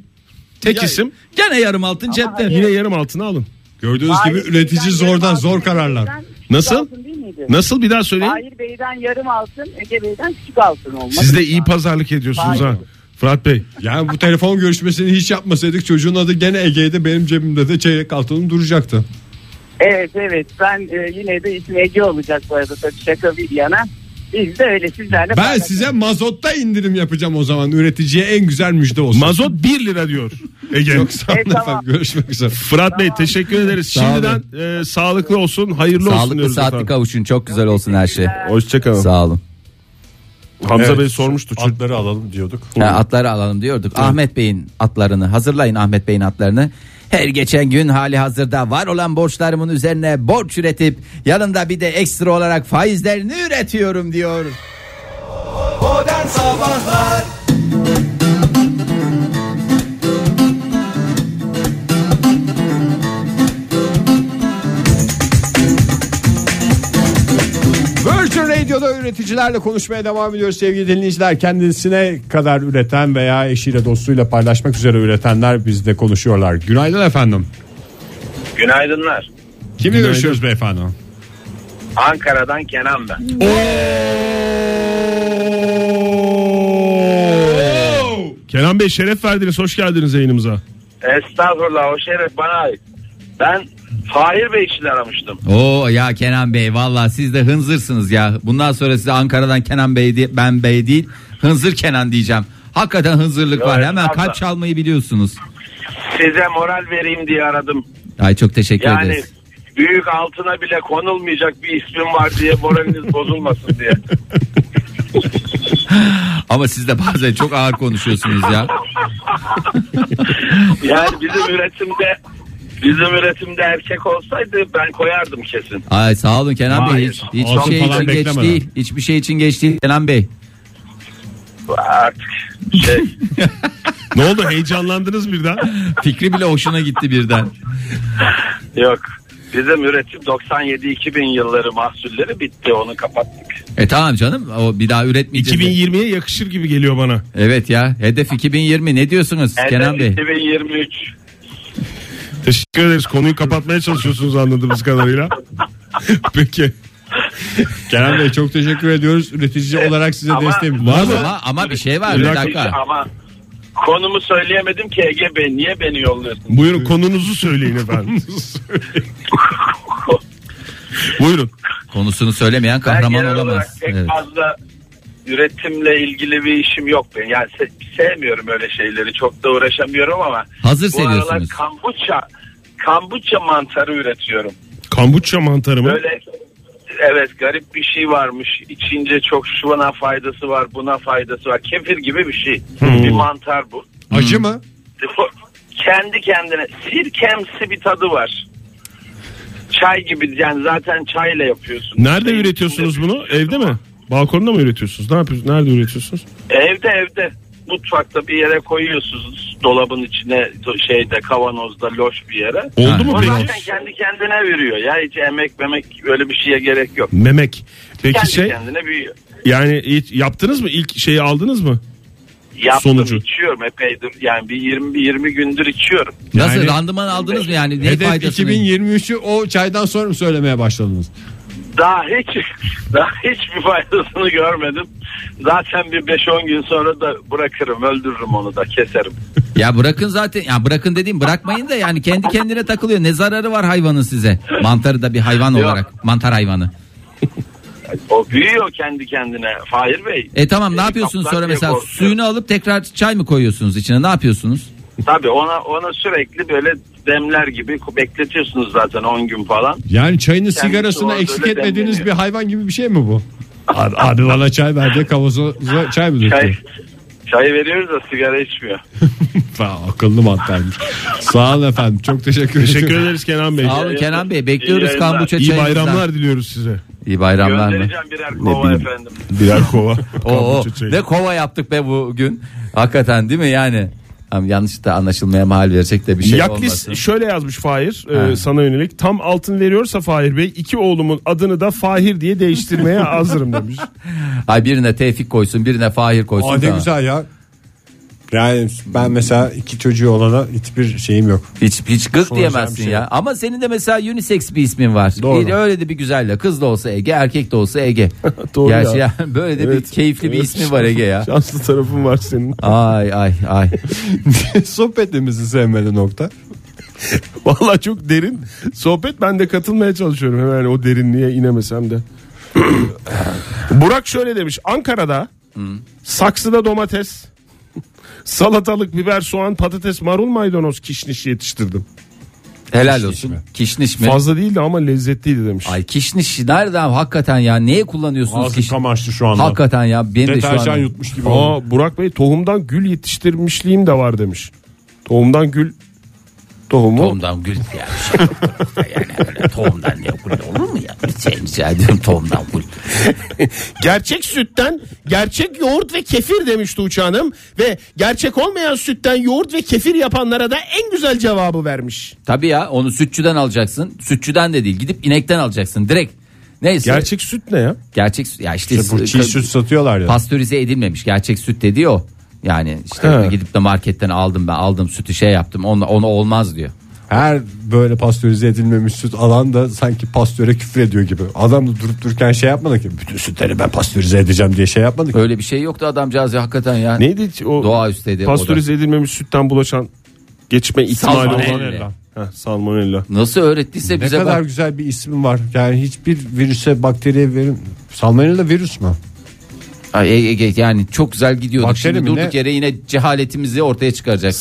[SPEAKER 4] Tek isim.
[SPEAKER 3] Gene yarım altın cepte.
[SPEAKER 4] Yine yarım altını alın.
[SPEAKER 2] Gördüğünüz gibi
[SPEAKER 1] Fahir
[SPEAKER 2] üretici
[SPEAKER 1] Bey'den
[SPEAKER 2] zordan
[SPEAKER 1] yarım
[SPEAKER 2] zor
[SPEAKER 1] altın,
[SPEAKER 2] kararlar.
[SPEAKER 1] Bey'den küçük
[SPEAKER 4] Nasıl?
[SPEAKER 1] altın değil miydi?
[SPEAKER 4] Nasıl bir daha söyleyin?
[SPEAKER 1] Fahir Bey'den yarım altın, Ege Bey'den küçük altın olmak.
[SPEAKER 4] Siz de iyi pazarlık ediyorsunuz
[SPEAKER 1] Hayır.
[SPEAKER 4] ha. Fırat Bey.
[SPEAKER 2] Yani bu telefon görüşmesini hiç yapmasaydık çocuğun adı gene Ege'de benim cebimde de çeyrek altınım duracaktı.
[SPEAKER 1] Evet evet ben e, yine de isim Ege olacak bu arada tabii şaka bir yana. Biz de öyle sizlerle.
[SPEAKER 2] Ben
[SPEAKER 1] paylaşalım.
[SPEAKER 2] size mazotta indirim yapacağım o zaman üreticiye en güzel müjde olsun.
[SPEAKER 4] Mazot 1 lira diyor. Ege.
[SPEAKER 2] Çok sağ olun
[SPEAKER 1] E, tamam.
[SPEAKER 2] efendim görüşmek üzere.
[SPEAKER 4] Fırat Bey teşekkür ederiz.
[SPEAKER 3] Sağ olun.
[SPEAKER 4] Şimdiden e, sağlıklı olsun, hayırlı olsun
[SPEAKER 3] Sağlıklı
[SPEAKER 4] diyoruz
[SPEAKER 3] saatli
[SPEAKER 4] efendim.
[SPEAKER 3] kavuşun. Çok güzel olsun her şey.
[SPEAKER 4] Hoşçakalın.
[SPEAKER 3] Sağ olun.
[SPEAKER 4] Hamza Bey sormuştu. Çocuk-
[SPEAKER 2] Atları alalım diyorduk.
[SPEAKER 3] Ha, atları alalım diyorduk. Ahmet Bey'in atlarını hazırlayın Ahmet Bey'in atlarını. Her geçen gün hali hazırda var olan borçlarımın üzerine borç üretip yanında bir de ekstra olarak faizlerini üretiyorum diyor.
[SPEAKER 2] Virgin Radio'da üreticilerle konuşmaya devam ediyoruz sevgili dinleyiciler. Kendisine kadar üreten veya eşiyle dostuyla paylaşmak üzere üretenler bizde konuşuyorlar. Günaydın efendim.
[SPEAKER 6] Günaydınlar.
[SPEAKER 2] Kimle görüşüyoruz beyefendi?
[SPEAKER 6] Ankara'dan Kenan ben.
[SPEAKER 4] Kenan Bey şeref verdiniz. Hoş geldiniz yayınımıza.
[SPEAKER 6] Estağfurullah o şeref bana ait. Ben Fahir Bey için aramıştım.
[SPEAKER 3] Oo ya Kenan Bey vallahi siz de hınzırsınız ya. Bundan sonra size Ankara'dan Kenan Bey diye, ben Bey değil hınzır Kenan diyeceğim. Hakikaten hınzırlık
[SPEAKER 6] Yok,
[SPEAKER 3] var. Hemen
[SPEAKER 6] estağfurullah.
[SPEAKER 3] kalp çalmayı biliyorsunuz.
[SPEAKER 6] Size moral vereyim diye aradım.
[SPEAKER 3] Ay çok teşekkür
[SPEAKER 6] Yani
[SPEAKER 3] ederiz.
[SPEAKER 6] büyük altına bile konulmayacak bir ismim var diye moraliniz bozulmasın diye.
[SPEAKER 3] Ama siz de bazen çok ağır konuşuyorsunuz ya.
[SPEAKER 6] Yani bizim üretimde bizim üretimde erkek olsaydı ben koyardım kesin.
[SPEAKER 3] Ay sağ olun Kenan Bey.
[SPEAKER 6] Hayır,
[SPEAKER 3] Hiç, hiçbir
[SPEAKER 2] olsun
[SPEAKER 3] şey
[SPEAKER 2] falan
[SPEAKER 3] için geç
[SPEAKER 2] beklemeden.
[SPEAKER 3] değil. Hiçbir şey için geç değil Kenan Bey.
[SPEAKER 6] Artık şey
[SPEAKER 4] Ne oldu heyecanlandınız birden?
[SPEAKER 3] Fikri bile hoşuna gitti birden.
[SPEAKER 6] yok. Bizim üretim 97-2000 yılları mahsulleri bitti onu kapattık.
[SPEAKER 3] E tamam canım o bir daha üretmeyeceğiz.
[SPEAKER 4] 2020'ye yakışır gibi geliyor bana.
[SPEAKER 3] Evet ya hedef 2020 ne diyorsunuz
[SPEAKER 6] Erdem
[SPEAKER 3] Kenan Bey?
[SPEAKER 6] 2023.
[SPEAKER 4] Teşekkür ederiz. Konuyu kapatmaya çalışıyorsunuz anladığımız kadarıyla. Peki.
[SPEAKER 2] Kenan Bey çok teşekkür ediyoruz. Üretici olarak size
[SPEAKER 6] ama-
[SPEAKER 2] desteğimiz var mı?
[SPEAKER 3] Ama, ama bir şey var
[SPEAKER 4] Bir
[SPEAKER 3] bir
[SPEAKER 4] dakika.
[SPEAKER 3] dakika.
[SPEAKER 6] Ama konumu söyleyemedim ki Ege Bey niye beni yolluyorsun?
[SPEAKER 4] Buyurun konunuzu söyleyin efendim. Buyurun.
[SPEAKER 3] Konusunu söylemeyen
[SPEAKER 6] Ben
[SPEAKER 3] kahraman
[SPEAKER 6] genel olarak
[SPEAKER 3] olamaz.
[SPEAKER 6] Pek
[SPEAKER 3] Evet.
[SPEAKER 6] fazla üretimle ilgili bir işim yok benim. Yani se- sevmiyorum öyle şeyleri. Çok da uğraşamıyorum ama
[SPEAKER 3] Hazır
[SPEAKER 6] bu aralar
[SPEAKER 3] seviyorsunuz.
[SPEAKER 6] kambuça kambuça mantarı üretiyorum.
[SPEAKER 4] Kambuça mantarı mı?
[SPEAKER 6] Böyle evet garip bir şey varmış. İçince çok şuna faydası var, buna faydası var. Kefir gibi bir şey.
[SPEAKER 3] Hmm.
[SPEAKER 6] Bir mantar bu.
[SPEAKER 4] Hmm.
[SPEAKER 2] Acı mı?
[SPEAKER 6] kendi kendine sirkemsi bir tadı var. Çay gibi yani zaten çayla yapıyorsun.
[SPEAKER 4] Nerede
[SPEAKER 6] Şey,
[SPEAKER 4] üretiyorsunuz
[SPEAKER 6] içinde-
[SPEAKER 4] bunu? Evde mi? Balkonda mı üretiyorsunuz? Ne yapıyorsunuz? Nerede üretiyorsunuz?
[SPEAKER 6] Evde evde mutfakta bir yere koyuyorsunuz dolabın içine şeyde kavanozda loş bir yere.
[SPEAKER 4] Oldu
[SPEAKER 3] Ha,
[SPEAKER 4] mu
[SPEAKER 6] O
[SPEAKER 4] peki?
[SPEAKER 6] zaten kendi kendine veriyor. Ya hiç emek memek öyle bir şeye gerek yok.
[SPEAKER 4] Memek. Peki
[SPEAKER 6] Kendi
[SPEAKER 4] şey
[SPEAKER 6] kendine büyüyor.
[SPEAKER 4] yani hiç yaptınız mı? İlk şeyi aldınız mı?
[SPEAKER 6] Yaptım
[SPEAKER 4] Sonucu.
[SPEAKER 6] içiyorum epeydir. Yani bir 20 20 gündür içiyorum.
[SPEAKER 3] Nasıl
[SPEAKER 4] Yani-
[SPEAKER 3] randıman aldınız mı yani? Ne
[SPEAKER 2] Hedef
[SPEAKER 3] faydasını?
[SPEAKER 2] 2023'ü o çaydan sonra mı söylemeye başladınız?
[SPEAKER 6] Daha hiç daha hiçbir faydasını görmedim. Zaten bir 5-10 gün sonra da bırakırım, öldürürüm onu da, keserim.
[SPEAKER 3] Ya bırakın zaten ya bırakın dediğim bırakmayın da yani kendi kendine takılıyor. Ne zararı var hayvanın size? Mantarı da bir hayvan
[SPEAKER 6] Yok.
[SPEAKER 3] olarak mantar hayvanı.
[SPEAKER 6] O büyüyor kendi kendine. Fahir Bey.
[SPEAKER 3] E tamam ne
[SPEAKER 6] Ee,
[SPEAKER 3] yapıyorsunuz
[SPEAKER 6] kaplan
[SPEAKER 3] sonra
[SPEAKER 6] diye
[SPEAKER 3] mesela
[SPEAKER 6] korkuyor.
[SPEAKER 3] suyunu alıp tekrar çay mı koyuyorsunuz içine ne yapıyorsunuz?
[SPEAKER 6] Tabii ona ona sürekli böyle demler gibi bekletiyorsunuz zaten 10 gün falan.
[SPEAKER 2] Yani çayını
[SPEAKER 6] Kendisi
[SPEAKER 2] sigarasını
[SPEAKER 6] orada
[SPEAKER 2] eksik
[SPEAKER 6] öyle
[SPEAKER 2] etmediğiniz
[SPEAKER 6] demleniyor.
[SPEAKER 2] bir hayvan gibi bir şey mi bu? Abi, abi bana çay ver diye kavanoza çay mı
[SPEAKER 6] Çay,
[SPEAKER 2] döktü?
[SPEAKER 6] çayı veriyoruz da sigara içmiyor.
[SPEAKER 2] Falan, Akıllı mantarmış. Sağ olun efendim. Çok teşekkür ederim.
[SPEAKER 4] Teşekkür ederiz Kenan Bey.
[SPEAKER 3] Sağ olun
[SPEAKER 6] yayınlar.
[SPEAKER 3] Kenan Bey
[SPEAKER 6] İyi
[SPEAKER 3] bekliyoruz
[SPEAKER 6] yayınlar.
[SPEAKER 3] kambuça
[SPEAKER 4] İyi
[SPEAKER 3] çayınızdan.
[SPEAKER 4] bayramlar diliyoruz size.
[SPEAKER 3] İyi bayramlar mı?
[SPEAKER 6] Göndereceğim birer kova
[SPEAKER 4] bileyim.
[SPEAKER 6] efendim.
[SPEAKER 4] Birer kova.
[SPEAKER 3] Oo,
[SPEAKER 4] Kambuça çayı.
[SPEAKER 3] ne kova yaptık be bugün. Hakikaten değil mi yani? Ama yanlış da anlaşılmaya mahal verecek de bir şey
[SPEAKER 4] Yaklis
[SPEAKER 3] olmasın.
[SPEAKER 4] şöyle yazmış Fahir e,
[SPEAKER 3] Ha.
[SPEAKER 4] sana yönelik. Tam altın veriyorsa Fahir Bey iki oğlumun adını da Fahir diye değiştirmeye hazırım demiş.
[SPEAKER 3] Ay birine Tevfik koysun, birine Fahir koysun.
[SPEAKER 2] Aa, ne
[SPEAKER 3] tamam.
[SPEAKER 2] güzel ya. Yani ben mesela iki çocuğu olana hiçbir şeyim yok.
[SPEAKER 3] Hiç hiç kız
[SPEAKER 2] Soracağım
[SPEAKER 3] diyemezsin
[SPEAKER 2] bir şey
[SPEAKER 3] ya.
[SPEAKER 2] yok.
[SPEAKER 3] Ama senin de mesela unisex bir ismin var.
[SPEAKER 2] Doğru.
[SPEAKER 3] Bir- öyle de bir güzel de. Kız da olsa Ege, erkek de olsa Ege.
[SPEAKER 4] Doğru
[SPEAKER 3] Gerçi
[SPEAKER 4] ya.
[SPEAKER 3] ya, böyle de
[SPEAKER 4] Evet.
[SPEAKER 3] bir keyifli bir
[SPEAKER 4] Evet.
[SPEAKER 3] ismi var Ege ya.
[SPEAKER 4] Şanslı tarafın var senin.
[SPEAKER 3] Ay ay ay.
[SPEAKER 2] Sohbetimizi sevmedi nokta.
[SPEAKER 4] Vallahi çok derin sohbet ben de katılmaya çalışıyorum hemen o derinliğe inemesem de. Burak şöyle demiş Ankara'da saksıda domates salatalık biber soğan patates marul maydanoz kişniş yetiştirdim.
[SPEAKER 3] Helal olsun. Kişniş mi?
[SPEAKER 4] Fazla değildi ama lezzetliydi demiş.
[SPEAKER 3] Ay kişniş nereden hakikaten ya? Neye kullanıyorsunuz
[SPEAKER 2] Ağzım
[SPEAKER 3] kişniş?
[SPEAKER 2] kamaştı şu anda.
[SPEAKER 3] Hakikaten ya benim de şu
[SPEAKER 2] Deterjan
[SPEAKER 3] an.
[SPEAKER 2] yutmuş gibi oldu.
[SPEAKER 4] Aa, Burak Bey tohumdan gül yetiştirmişliğim de var demiş. Tohumdan gül tohumu.
[SPEAKER 3] Tohumdan gül ya. bir şey yok. yani öyle tohumdan ya gül olur mu ya? Bir şey rica ediyorum tohumdan gül.
[SPEAKER 4] Gerçek sütten gerçek yoğurt ve kefir demişti uçağınım ve gerçek olmayan sütten yoğurt ve kefir yapanlara da en güzel cevabı vermiş.
[SPEAKER 3] Tabii ya onu sütçüden alacaksın. Sütçüden de değil gidip inekten alacaksın direkt. Neyse.
[SPEAKER 4] Gerçek süt ne ya?
[SPEAKER 3] Gerçek süt ya işte,
[SPEAKER 2] Bu çiğ süt satıyorlar ya.
[SPEAKER 3] pastörize edilmemiş gerçek süt dediği o. Yani işte
[SPEAKER 4] He.
[SPEAKER 3] gidip de marketten aldım ben aldım sütü şey yaptım ona, ona olmaz diyor.
[SPEAKER 2] Her böyle pastörize edilmemiş süt alan da sanki pastöre küfür ediyor gibi. Adam da durup dururken şey yapmadı ki. Bütün sütleri ben pastörize edeceğim diye şey yapmadı ki.
[SPEAKER 3] Öyle bir şey yoktu adamcağız ya hakikaten ya.
[SPEAKER 4] Neydi o
[SPEAKER 3] Doğaüstü dedi o da.
[SPEAKER 4] pastörize edilmemiş sütten bulaşan geçme ihtimali
[SPEAKER 3] Salmonella.
[SPEAKER 4] olan Heh, salmonella.
[SPEAKER 3] Nasıl öğrettiyse
[SPEAKER 2] Ne
[SPEAKER 3] bize
[SPEAKER 2] kadar
[SPEAKER 3] bak.
[SPEAKER 2] güzel bir ismi var. Yani hiçbir virüse, bakteriye verin. Salmonella virüs mü?
[SPEAKER 3] Ay, Ege, Ege, yani çok güzel gidiyorduk.
[SPEAKER 2] Bakteri
[SPEAKER 3] Şimdi
[SPEAKER 2] mi
[SPEAKER 3] durduk
[SPEAKER 2] ne?
[SPEAKER 3] yere yine cehaletimizi ortaya çıkaracaksın.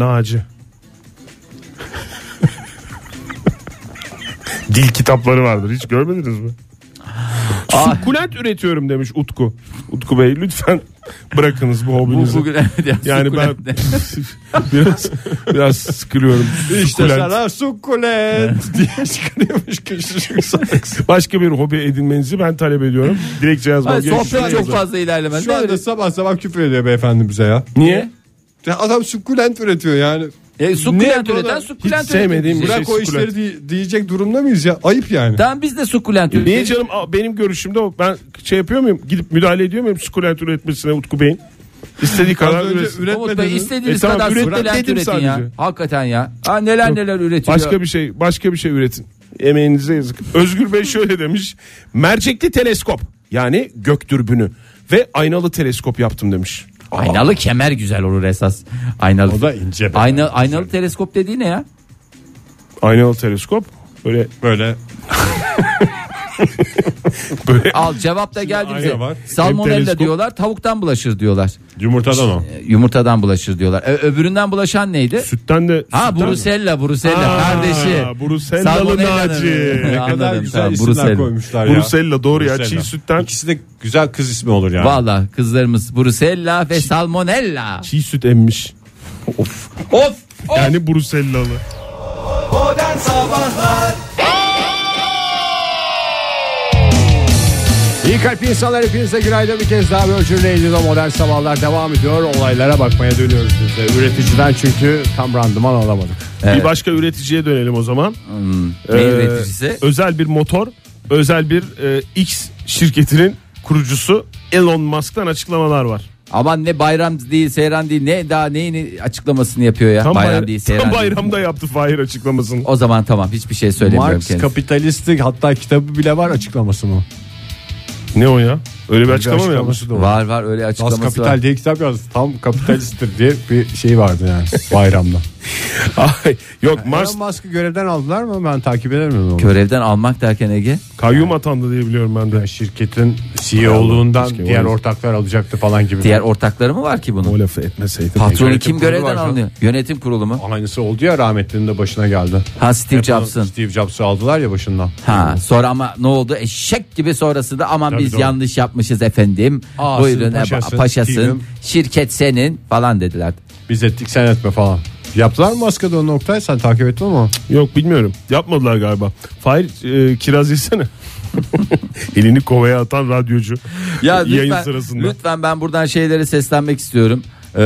[SPEAKER 4] lacı. Dil kitapları vardır. Hiç görmediniz mi? Sukulent üretiyorum demiş Utku. Utku Bey lütfen bırakınız bu
[SPEAKER 3] bu,
[SPEAKER 4] hobinizi.
[SPEAKER 3] bugün evet,
[SPEAKER 4] yani ben
[SPEAKER 3] sukulent de.
[SPEAKER 4] biraz biraz sıkılıyorum.
[SPEAKER 2] İşte
[SPEAKER 4] Sukulent.
[SPEAKER 2] sana sukulent diye çıkarıyormuş küçücük saksı.
[SPEAKER 4] Başka bir hobi edinmenizi ben talep ediyorum. Dilekçe yazmam
[SPEAKER 3] Ay,
[SPEAKER 4] gerekiyor.
[SPEAKER 3] sohbet çok fazla ilerlemez.
[SPEAKER 2] Şu anda sabah sabah küfür ediyor beyefendi bize ya.
[SPEAKER 4] Niye?
[SPEAKER 2] Ya adam sukulent üretiyor yani.
[SPEAKER 3] E,
[SPEAKER 2] Niye
[SPEAKER 3] sukulent
[SPEAKER 2] bu
[SPEAKER 3] üreten
[SPEAKER 2] kadar-
[SPEAKER 3] sukulent
[SPEAKER 4] Hiç sevmediğim
[SPEAKER 3] üretici.
[SPEAKER 4] bir şey.
[SPEAKER 2] Bırak o
[SPEAKER 4] sukulent.
[SPEAKER 2] işleri di- diyecek durumda mıyız ya? Ayıp yani.
[SPEAKER 3] Tamam biz de sukulent
[SPEAKER 4] Niye
[SPEAKER 3] üreteceğiz.
[SPEAKER 4] canım Aa, benim görüşümde o. ben şey yapıyor muyum? Gidip müdahale ediyor muyum sukulent üretmesine Utku Bey'in? İstediği kadar
[SPEAKER 2] önce
[SPEAKER 4] üretsin.
[SPEAKER 2] üret-
[SPEAKER 3] Umut
[SPEAKER 2] üretmediniz.
[SPEAKER 3] Bey istediğiniz
[SPEAKER 4] E, tamam,
[SPEAKER 3] kadar
[SPEAKER 4] üret-
[SPEAKER 3] sukulent
[SPEAKER 4] üretmedim
[SPEAKER 3] üretin ya.
[SPEAKER 4] sadece.
[SPEAKER 3] Hakikaten ya. Ha, neler neler üretiliyor.
[SPEAKER 4] Başka bir şey, başka bir şey üretin. Emeğinize yazık. Özgür Bey şöyle demiş. Mercekli teleskop yani gök dürbünü ve aynalı teleskop yaptım demiş.
[SPEAKER 3] Aynalı kemer güzel olur esas. Aynalı.
[SPEAKER 2] O da ince be.
[SPEAKER 3] Ayna, aynalı teleskop dediği ne ya?
[SPEAKER 4] Aynalı teleskop böyle
[SPEAKER 2] Böyle
[SPEAKER 4] böyle
[SPEAKER 3] Al cevap da geldi
[SPEAKER 2] ayna
[SPEAKER 3] bize.
[SPEAKER 2] var.
[SPEAKER 4] Hem
[SPEAKER 3] Salmonella
[SPEAKER 4] teleskop-
[SPEAKER 3] diyorlar, tavuktan bulaşır diyorlar.
[SPEAKER 2] yumurtadan o.
[SPEAKER 3] E, Yumurtadan bulaşır diyorlar. E, öbüründen bulaşan neydi?
[SPEAKER 4] sütten de
[SPEAKER 3] Ha
[SPEAKER 4] sütten-
[SPEAKER 3] Brusella, Brusella
[SPEAKER 4] Aa,
[SPEAKER 3] kardeşi.
[SPEAKER 4] Brusellalı
[SPEAKER 3] Salmonella'nın-
[SPEAKER 4] Naci. Ne
[SPEAKER 2] Ne kadar
[SPEAKER 3] Anladım,
[SPEAKER 2] güzel
[SPEAKER 3] tamam,
[SPEAKER 2] isimler
[SPEAKER 3] Brusella.
[SPEAKER 2] koymuşlar ya.
[SPEAKER 4] Brusella doğru ya
[SPEAKER 2] Brusella.
[SPEAKER 4] çiğ sütten
[SPEAKER 2] İkisi de güzel kız ismi olur yani.
[SPEAKER 3] Valla kızlarımız Brusella ve Salmonella.
[SPEAKER 4] çiğ süt emmiş.
[SPEAKER 3] Of!
[SPEAKER 2] Oh!
[SPEAKER 4] Yani Brusellalı.
[SPEAKER 2] İyi kalp insanlar hepinize günaydın bir kez daha Virgin Radio'da modern sabahlar devam ediyor. Olaylara bakmaya dönüyoruz biz de. Üreticiden çünkü tam randıman alamadık.
[SPEAKER 4] Bir başka üreticiye dönelim o zaman.
[SPEAKER 3] Ne
[SPEAKER 4] Ee,
[SPEAKER 3] üreticisi?
[SPEAKER 4] Özel bir motor, özel bir e, X şirketinin kurucusu Elon Musk'tan açıklamalar var.
[SPEAKER 3] Aman ne bayram değil seyran değil ne daha neyini açıklamasını yapıyor ya. bayram
[SPEAKER 4] bayra-
[SPEAKER 3] değil
[SPEAKER 4] tam
[SPEAKER 3] seyran değil.
[SPEAKER 4] bayramda yaptı Fahir açıklamasını.
[SPEAKER 3] O zaman tamam hiçbir şey söylemiyorum
[SPEAKER 2] Marx
[SPEAKER 3] kendisine.
[SPEAKER 2] kapitalisti hatta kitabı bile var açıklaması mı?
[SPEAKER 4] Ne o ya? Öyle bir açıklama mı yapmış?
[SPEAKER 2] da var.
[SPEAKER 3] Var var öyle
[SPEAKER 2] Das
[SPEAKER 3] açıklaması var.
[SPEAKER 2] Kapital diye kitap yazdı. Tam kapitalisttir diye bir şey vardı yani bayramda.
[SPEAKER 4] Ay, Yok Mars
[SPEAKER 2] Elon Musk'ı görevden aldılar mı? Ben takip edemedim onu.
[SPEAKER 3] Görevden almak derken Ege.
[SPEAKER 4] kayyum atandı diye biliyorum ben de.
[SPEAKER 2] Şirketin CEO'luğundan
[SPEAKER 4] Keşke
[SPEAKER 2] diğer
[SPEAKER 4] var.
[SPEAKER 2] ortaklar alacaktı falan gibi.
[SPEAKER 3] Diğer ortakları mı var ki bunun?
[SPEAKER 4] O lafı etmeseydi.
[SPEAKER 3] Patronu
[SPEAKER 2] yönetim
[SPEAKER 3] kim
[SPEAKER 2] kurulu
[SPEAKER 3] görevden
[SPEAKER 2] var canım.
[SPEAKER 3] alınıyor? Yönetim kurulu mu?
[SPEAKER 2] Aynısı oldu ya rahmetlinin de başına geldi.
[SPEAKER 3] Ha Steve Jobs'ın.
[SPEAKER 2] Steve Jobs'ı aldılar ya başından.
[SPEAKER 3] Ha sonra ama ne oldu? Eşek gibi sonrası da aman biz
[SPEAKER 2] doğru.
[SPEAKER 3] yanlış yapmışız efendim.
[SPEAKER 2] Ağasın,
[SPEAKER 3] Buyurun e,
[SPEAKER 2] paşasın,
[SPEAKER 3] ba- paşasın,
[SPEAKER 2] değilim.
[SPEAKER 3] şirket senin falan dediler.
[SPEAKER 2] Biz ettik sen etme falan. Yaptılar mı Aska'da o noktayı sen takip ettin mi?
[SPEAKER 4] Yok bilmiyorum. Yapmadılar galiba. Fahir e, kiraz yesene. Elini kovaya atan radyocu.
[SPEAKER 3] Ya
[SPEAKER 4] Yayın
[SPEAKER 3] lütfen,
[SPEAKER 4] sırasında.
[SPEAKER 3] lütfen ben buradan şeylere seslenmek istiyorum. Ee,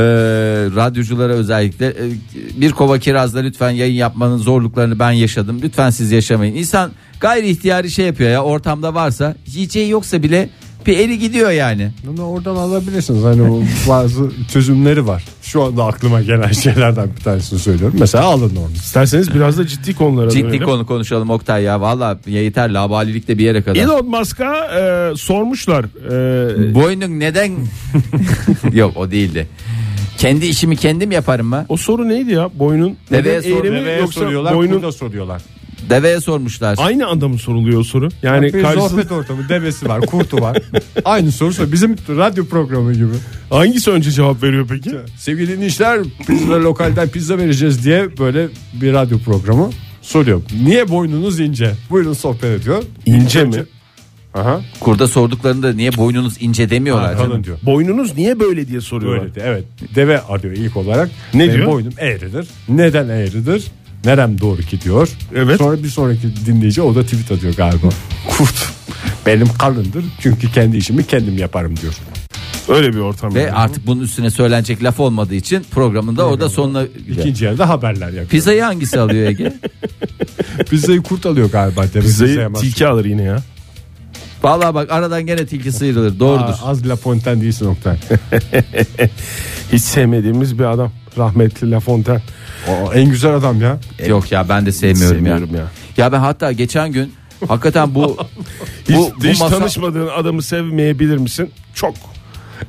[SPEAKER 3] radyoculara özellikle Ee, bir kova kirazla lütfen yayın yapmanın zorluklarını ben yaşadım. Lütfen siz yaşamayın. İnsan gayri ihtiyari şey yapıyor ya ortamda varsa yiyeceği yoksa bile bir eli gidiyor yani.
[SPEAKER 2] Bunu oradan alabilirsiniz. Hani o bazı çözümleri var. Şu anda aklıma gelen şeylerden bir tanesini söylüyorum. Mesela alın onu.
[SPEAKER 4] İsterseniz biraz da ciddi konulara
[SPEAKER 3] Ciddi
[SPEAKER 4] dönelim.
[SPEAKER 3] konu konuşalım Oktay ya. Valla yeter labalilik de bir yere kadar.
[SPEAKER 4] Elon Musk'a e, sormuşlar. E,
[SPEAKER 3] Boynun neden? Yok o değildi. Kendi işimi kendim yaparım mı?
[SPEAKER 4] o soru neydi ya? Boynun
[SPEAKER 3] Deveye
[SPEAKER 4] neden
[SPEAKER 3] sor-
[SPEAKER 4] eğri mi
[SPEAKER 2] Deveye
[SPEAKER 4] yoksa
[SPEAKER 2] soruyorlar,
[SPEAKER 4] boynun
[SPEAKER 2] kurda soruyorlar.
[SPEAKER 3] Deveye sormuşlar.
[SPEAKER 4] aynı anda mı soruluyor o soru? Yani
[SPEAKER 2] Bir
[SPEAKER 4] karşısında
[SPEAKER 2] sohbet ortamı devesi var, kurtu var. Aynı soru sor- Bizim radyo programı gibi.
[SPEAKER 4] hangisi önce cevap veriyor peki?
[SPEAKER 2] Sevgili dinleyiciler pizza lokalden pizza vereceğiz diye böyle bir radyo programı soruyor. Niye boynunuz ince? Buyurun sohbet ediyor.
[SPEAKER 4] İnce mi?
[SPEAKER 2] Aha.
[SPEAKER 3] Kurda sorduklarında niye boynunuz ince demiyorlar canım.
[SPEAKER 2] Kalın diyor.
[SPEAKER 4] Boynunuz niye böyle diye soruyorlar.
[SPEAKER 2] Böyle de evet. Deve arıyor ilk olarak.
[SPEAKER 4] Ne
[SPEAKER 2] Benim
[SPEAKER 4] diyor?
[SPEAKER 2] Boynum eğridir. Neden eğridir? Nerem doğru ki diyor.
[SPEAKER 4] Evet.
[SPEAKER 2] Sonra bir sonraki dinleyici o da tweet atıyor galiba. Kurt. Benim kalındır çünkü kendi işimi kendim yaparım diyor.
[SPEAKER 4] Öyle bir ortam.
[SPEAKER 3] Ve
[SPEAKER 4] yani.
[SPEAKER 3] artık bunun üstüne söylenecek laf olmadığı için programında o da sonuna gider.
[SPEAKER 2] İkinci yerde haberler yapıyor.
[SPEAKER 3] Pizzayı hangisi alıyor Ege?
[SPEAKER 2] Pizzayı kurt alıyor galiba. Deve pizzaya
[SPEAKER 4] Pizzayı
[SPEAKER 2] mahsus.
[SPEAKER 4] tilki alır yine ya.
[SPEAKER 3] Vallahi bak aradan gene tilki sıyrılır. Doğrudur.
[SPEAKER 2] Aa, az La Fontaine değilsin Oktay.
[SPEAKER 4] Hiç sevmediğimiz bir adam. Rahmetli La Fontaine.
[SPEAKER 2] Aa, en güzel adam ya.
[SPEAKER 3] Yok ya ben de sevmiyorum,
[SPEAKER 4] Sevmiyorum
[SPEAKER 3] ya. ya.
[SPEAKER 4] ya.
[SPEAKER 3] ben hatta geçen gün hakikaten bu
[SPEAKER 4] Hiç,
[SPEAKER 3] bu, bu
[SPEAKER 4] hiç
[SPEAKER 3] masa
[SPEAKER 4] tanışmadığın adamı sevmeyebilir misin? Çok.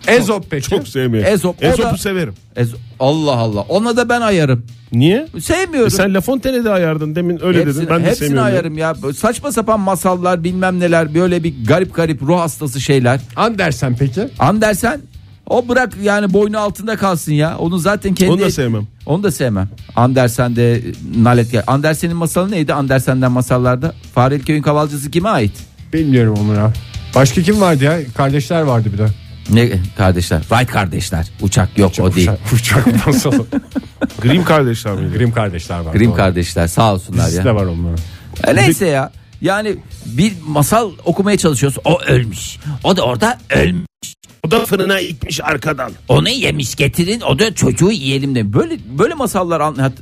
[SPEAKER 2] Ezop peki.
[SPEAKER 4] Çok sevmiyorum.
[SPEAKER 3] Ezop, o
[SPEAKER 4] Ezop'u
[SPEAKER 3] da-
[SPEAKER 4] severim.
[SPEAKER 3] Ez- Allah Allah. Ona da ben ayarım.
[SPEAKER 4] Niye?
[SPEAKER 3] Sevmiyorum.
[SPEAKER 4] E sen La Fontaine'de ayardın demin öyle
[SPEAKER 3] Hepsini,
[SPEAKER 4] dedin. Ben de
[SPEAKER 3] hepsini
[SPEAKER 4] sevmiyorum. dedim.
[SPEAKER 3] ayarım ya. Saçma sapan masallar bilmem neler böyle bir garip garip ruh hastası şeyler.
[SPEAKER 2] Andersen peki?
[SPEAKER 3] Andersen o bırak yani boynu altında kalsın ya. Onu zaten kendi
[SPEAKER 4] Onu da sevmem.
[SPEAKER 3] Onu da sevmem. Andersen de e, nalet gel. Andersen'in masalı neydi? Andersen'den masallarda Farel Köy'ün kavalcısı kime ait?
[SPEAKER 2] Bilmiyorum Onur abi. Başka kim vardı ya? Kardeşler vardı bir de.
[SPEAKER 3] Ne e, kardeşler? Wright kardeşler. Uçak yok o değil.
[SPEAKER 2] Uçak masalı.
[SPEAKER 4] Grimm kardeşler miydi?
[SPEAKER 2] Grim kardeşler var.
[SPEAKER 3] Grimm kardeşler sağ olsunlar
[SPEAKER 2] Dizisi
[SPEAKER 3] ya.
[SPEAKER 2] de var onların.
[SPEAKER 3] E, Neyse ya. Yani bir masal okumaya çalışıyoruz. O ölmüş. O da orada ölmüş.
[SPEAKER 4] O da fırına itmiş arkadan.
[SPEAKER 3] Onu yemiş getirin. O da çocuğu yiyelim de. Böyle böyle masallar anlat.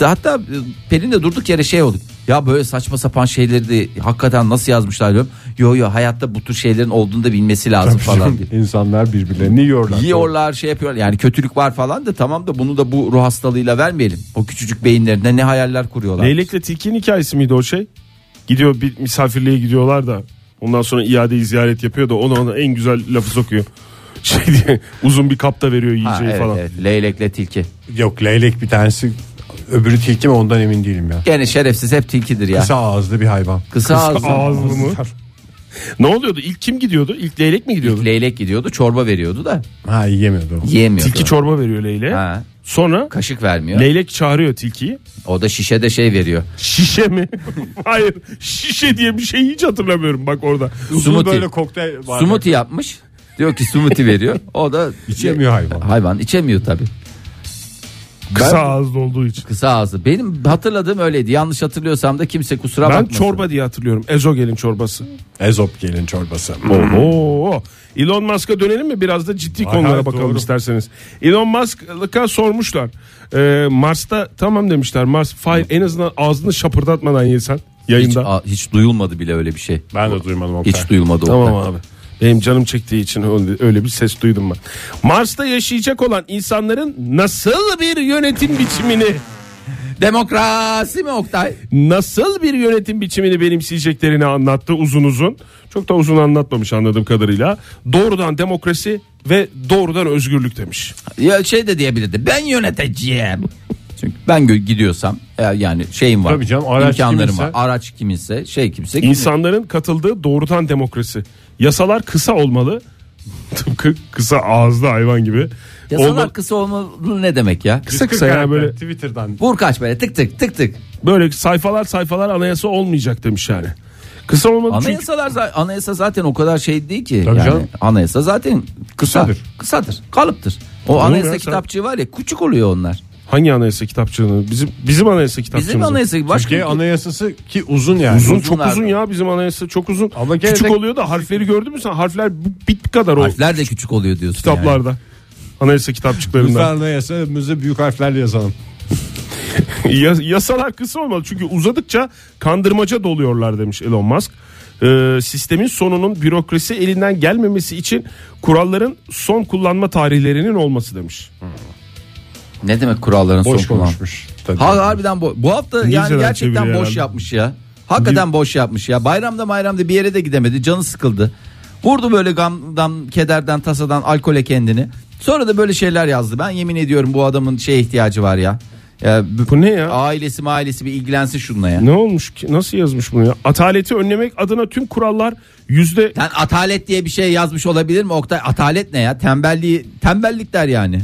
[SPEAKER 3] Hatta e, Pelin de durduk yere şey olduk. Ya böyle saçma sapan şeyleri de hakikaten nasıl yazmışlar diyorum. Yo yo hayatta bu tür şeylerin olduğunu da bilmesi lazım falan diye.
[SPEAKER 2] İnsanlar birbirlerini yiyorlar.
[SPEAKER 3] Yiyorlar şey yapıyorlar yani kötülük var falan da tamam da bunu da bu ruh hastalığıyla vermeyelim. O küçücük beyinlerine ne hayaller kuruyorlar.
[SPEAKER 4] Leylek'le Tilki'nin hikayesi miydi o şey? Gidiyor bir misafirliğe gidiyorlar da ondan sonra iadeyi ziyaret yapıyor da ona ona en güzel lafı sokuyor. Şey diye uzun bir kapta
[SPEAKER 3] Ha,
[SPEAKER 4] veriyor yiyeceği
[SPEAKER 3] evet,
[SPEAKER 4] falan.
[SPEAKER 3] evet. leylekle tilki.
[SPEAKER 2] Yok leylek bir tanesi öbürü tilki mi ondan emin değilim ya.
[SPEAKER 3] Gene şerefsiz hep tilkidir ya. Kısa,
[SPEAKER 2] Kısa ağızlı bir hayvan.
[SPEAKER 3] ağızlı.
[SPEAKER 4] Ağızlı mı? Ne oluyordu? İlk kim gidiyordu? İlk leylek mi gidiyordu?
[SPEAKER 3] Leylek gidiyordu çorba veriyordu da
[SPEAKER 2] Ha yiyemiyordu. o.
[SPEAKER 3] yiyemiyordu.
[SPEAKER 4] Tilki çorba veriyor leyle.
[SPEAKER 3] Ha.
[SPEAKER 4] Sonra
[SPEAKER 3] Kaşık vermiyor.
[SPEAKER 4] leylek çağırıyor tilkiyi.
[SPEAKER 3] O da şişede şey veriyor.
[SPEAKER 4] Şişe mi? Hayır. Şişe diye bir şey hiç hatırlamıyorum bak orada.
[SPEAKER 2] Uzun
[SPEAKER 3] Smoothie.
[SPEAKER 2] böyle kokteyl var.
[SPEAKER 3] Smoothie yapmış. Diyor ki smoothie veriyor. O da
[SPEAKER 2] İçemiyor hayvan.
[SPEAKER 3] Hayvan içemiyor tabii.
[SPEAKER 4] Kısa ağızlı olduğu için.
[SPEAKER 3] Kısa ağzı. Benim hatırladığım öyleydi. Yanlış hatırlıyorsam da kimse kusura
[SPEAKER 4] Ben
[SPEAKER 3] bakmasın.
[SPEAKER 4] çorba diye hatırlıyorum. Ezogelin çorbası.
[SPEAKER 2] Ezop gelin çorbası.
[SPEAKER 4] Oho. Elon Musk'a dönelim mi? Biraz da ciddi
[SPEAKER 2] Ay,
[SPEAKER 4] konulara
[SPEAKER 2] hayır,
[SPEAKER 4] bakalım
[SPEAKER 2] doğru.
[SPEAKER 4] isterseniz. Elon Musk'a sormuşlar. Ee, Mars'ta tamam demişler. Mars fire en azından ağzını şapırdatmadan yesen
[SPEAKER 3] hiç,
[SPEAKER 4] yayında.
[SPEAKER 3] a- hiç duyulmadı bile öyle bir şey.
[SPEAKER 2] Ben de duymadım o
[SPEAKER 3] Hiç duyulmadı.
[SPEAKER 4] Tamam
[SPEAKER 3] Oktay.
[SPEAKER 4] abi. Benim canım çektiği için öyle- öyle bir ses duydum ben. Mars'ta yaşayacak olan insanların nasıl bir yönetim biçimini
[SPEAKER 3] Demokrasi mi Oktay?
[SPEAKER 4] nasıl bir yönetim biçimini benimseyeceklerini anlattı uzun uzun. Çok da uzun anlatmamış anladığım kadarıyla. Doğrudan demokrasi ve doğrudan özgürlük demiş.
[SPEAKER 3] Ya şey de diyebilirdi. Ben yöneteceğim. Çünkü ben gö- gidiyorsam e, yani şeyim var.
[SPEAKER 2] Tabii canım, araç
[SPEAKER 3] imkanlarım var.
[SPEAKER 2] kiminse.
[SPEAKER 3] Araç kiminse şey kimse. kimin-
[SPEAKER 4] İnsanların katıldığı doğrudan demokrasi. Yasalar kısa olmalı. Tıpkı kısa ağızlı hayvan gibi.
[SPEAKER 3] Yasalar
[SPEAKER 4] Olma-
[SPEAKER 3] kısa olmalı ne demek ya?
[SPEAKER 4] kısa kısa yani böyle
[SPEAKER 2] Twitter'dan.
[SPEAKER 3] Vur kaç böyle tık tık tık tık.
[SPEAKER 4] böyle sayfalar sayfalar anayasa olmayacak demiş yani. Kısa olmalı çünkü
[SPEAKER 3] Anayasalar za- anayasa zaten o kadar şey değil ki.
[SPEAKER 2] Tabii
[SPEAKER 3] yani
[SPEAKER 2] canım.
[SPEAKER 3] anayasa zaten kısa,
[SPEAKER 2] Kısadır.
[SPEAKER 3] Kısadır. Kalıptır. O
[SPEAKER 4] ya
[SPEAKER 3] anayasa
[SPEAKER 4] sen-
[SPEAKER 3] kitapçığı var ya küçük oluyor onlar.
[SPEAKER 4] hangi anayasa kitapçığını bizim bizim anayasa kitapçığımız.
[SPEAKER 3] Bizim anayasa başka
[SPEAKER 2] Türkiye anayasası ki uzun yani.
[SPEAKER 4] Uzun
[SPEAKER 3] Uzun
[SPEAKER 4] çok uzun
[SPEAKER 3] abi.
[SPEAKER 4] ya bizim anayasa çok uzun.
[SPEAKER 2] Ama gene
[SPEAKER 4] Küçük
[SPEAKER 2] de-
[SPEAKER 4] oluyor da harfleri gördün mü sen harfler bu- bit kadar o
[SPEAKER 3] harfler de küçük oluyor diyorsun. yani.
[SPEAKER 4] kitaplarda. Anayasa
[SPEAKER 2] Lütfen
[SPEAKER 4] kitapçıklarında.
[SPEAKER 2] anayasamızı büyük harflerle yazalım.
[SPEAKER 4] Ya- Yasalar kısa olmalı çünkü uzadıkça kandırmaca doluyorlar demiş Elon Musk. Ee, sistemin sonunun bürokrasi elinden gelmemesi için kuralların son kullanma tarihlerinin olması demiş.
[SPEAKER 3] Ne demek kuralların
[SPEAKER 2] Boş
[SPEAKER 3] son kullanımı?
[SPEAKER 2] konuşmuş. Tabii.
[SPEAKER 3] Ha, harbiden bo- bu hafta yani
[SPEAKER 4] İngilizceden
[SPEAKER 3] gerçekten boş
[SPEAKER 4] çeviriyor herhalde.
[SPEAKER 3] yapmış ya. Hakikaten boş yapmış ya. Bayramda bayramda bir yere de gidemedi. Canı sıkıldı. Vurdu böyle gamdan, kederden, tasadan, alkole kendini. Sonra da böyle şeyler yazdı. Ben yemin ediyorum bu adamın şeye ihtiyacı var ya. ya bu-
[SPEAKER 4] Bu ne ya?
[SPEAKER 3] ailesi ailesi bir ilgilensin şununla ya.
[SPEAKER 4] Ne olmuş ki? Nasıl yazmış bunu ya? Ataleti önlemek adına tüm kurallar yüzde
[SPEAKER 3] Yani atalet diye bir şey yazmış olabilir mi Oktay? Atalet ne ya? Tembelliği tembellik der yani.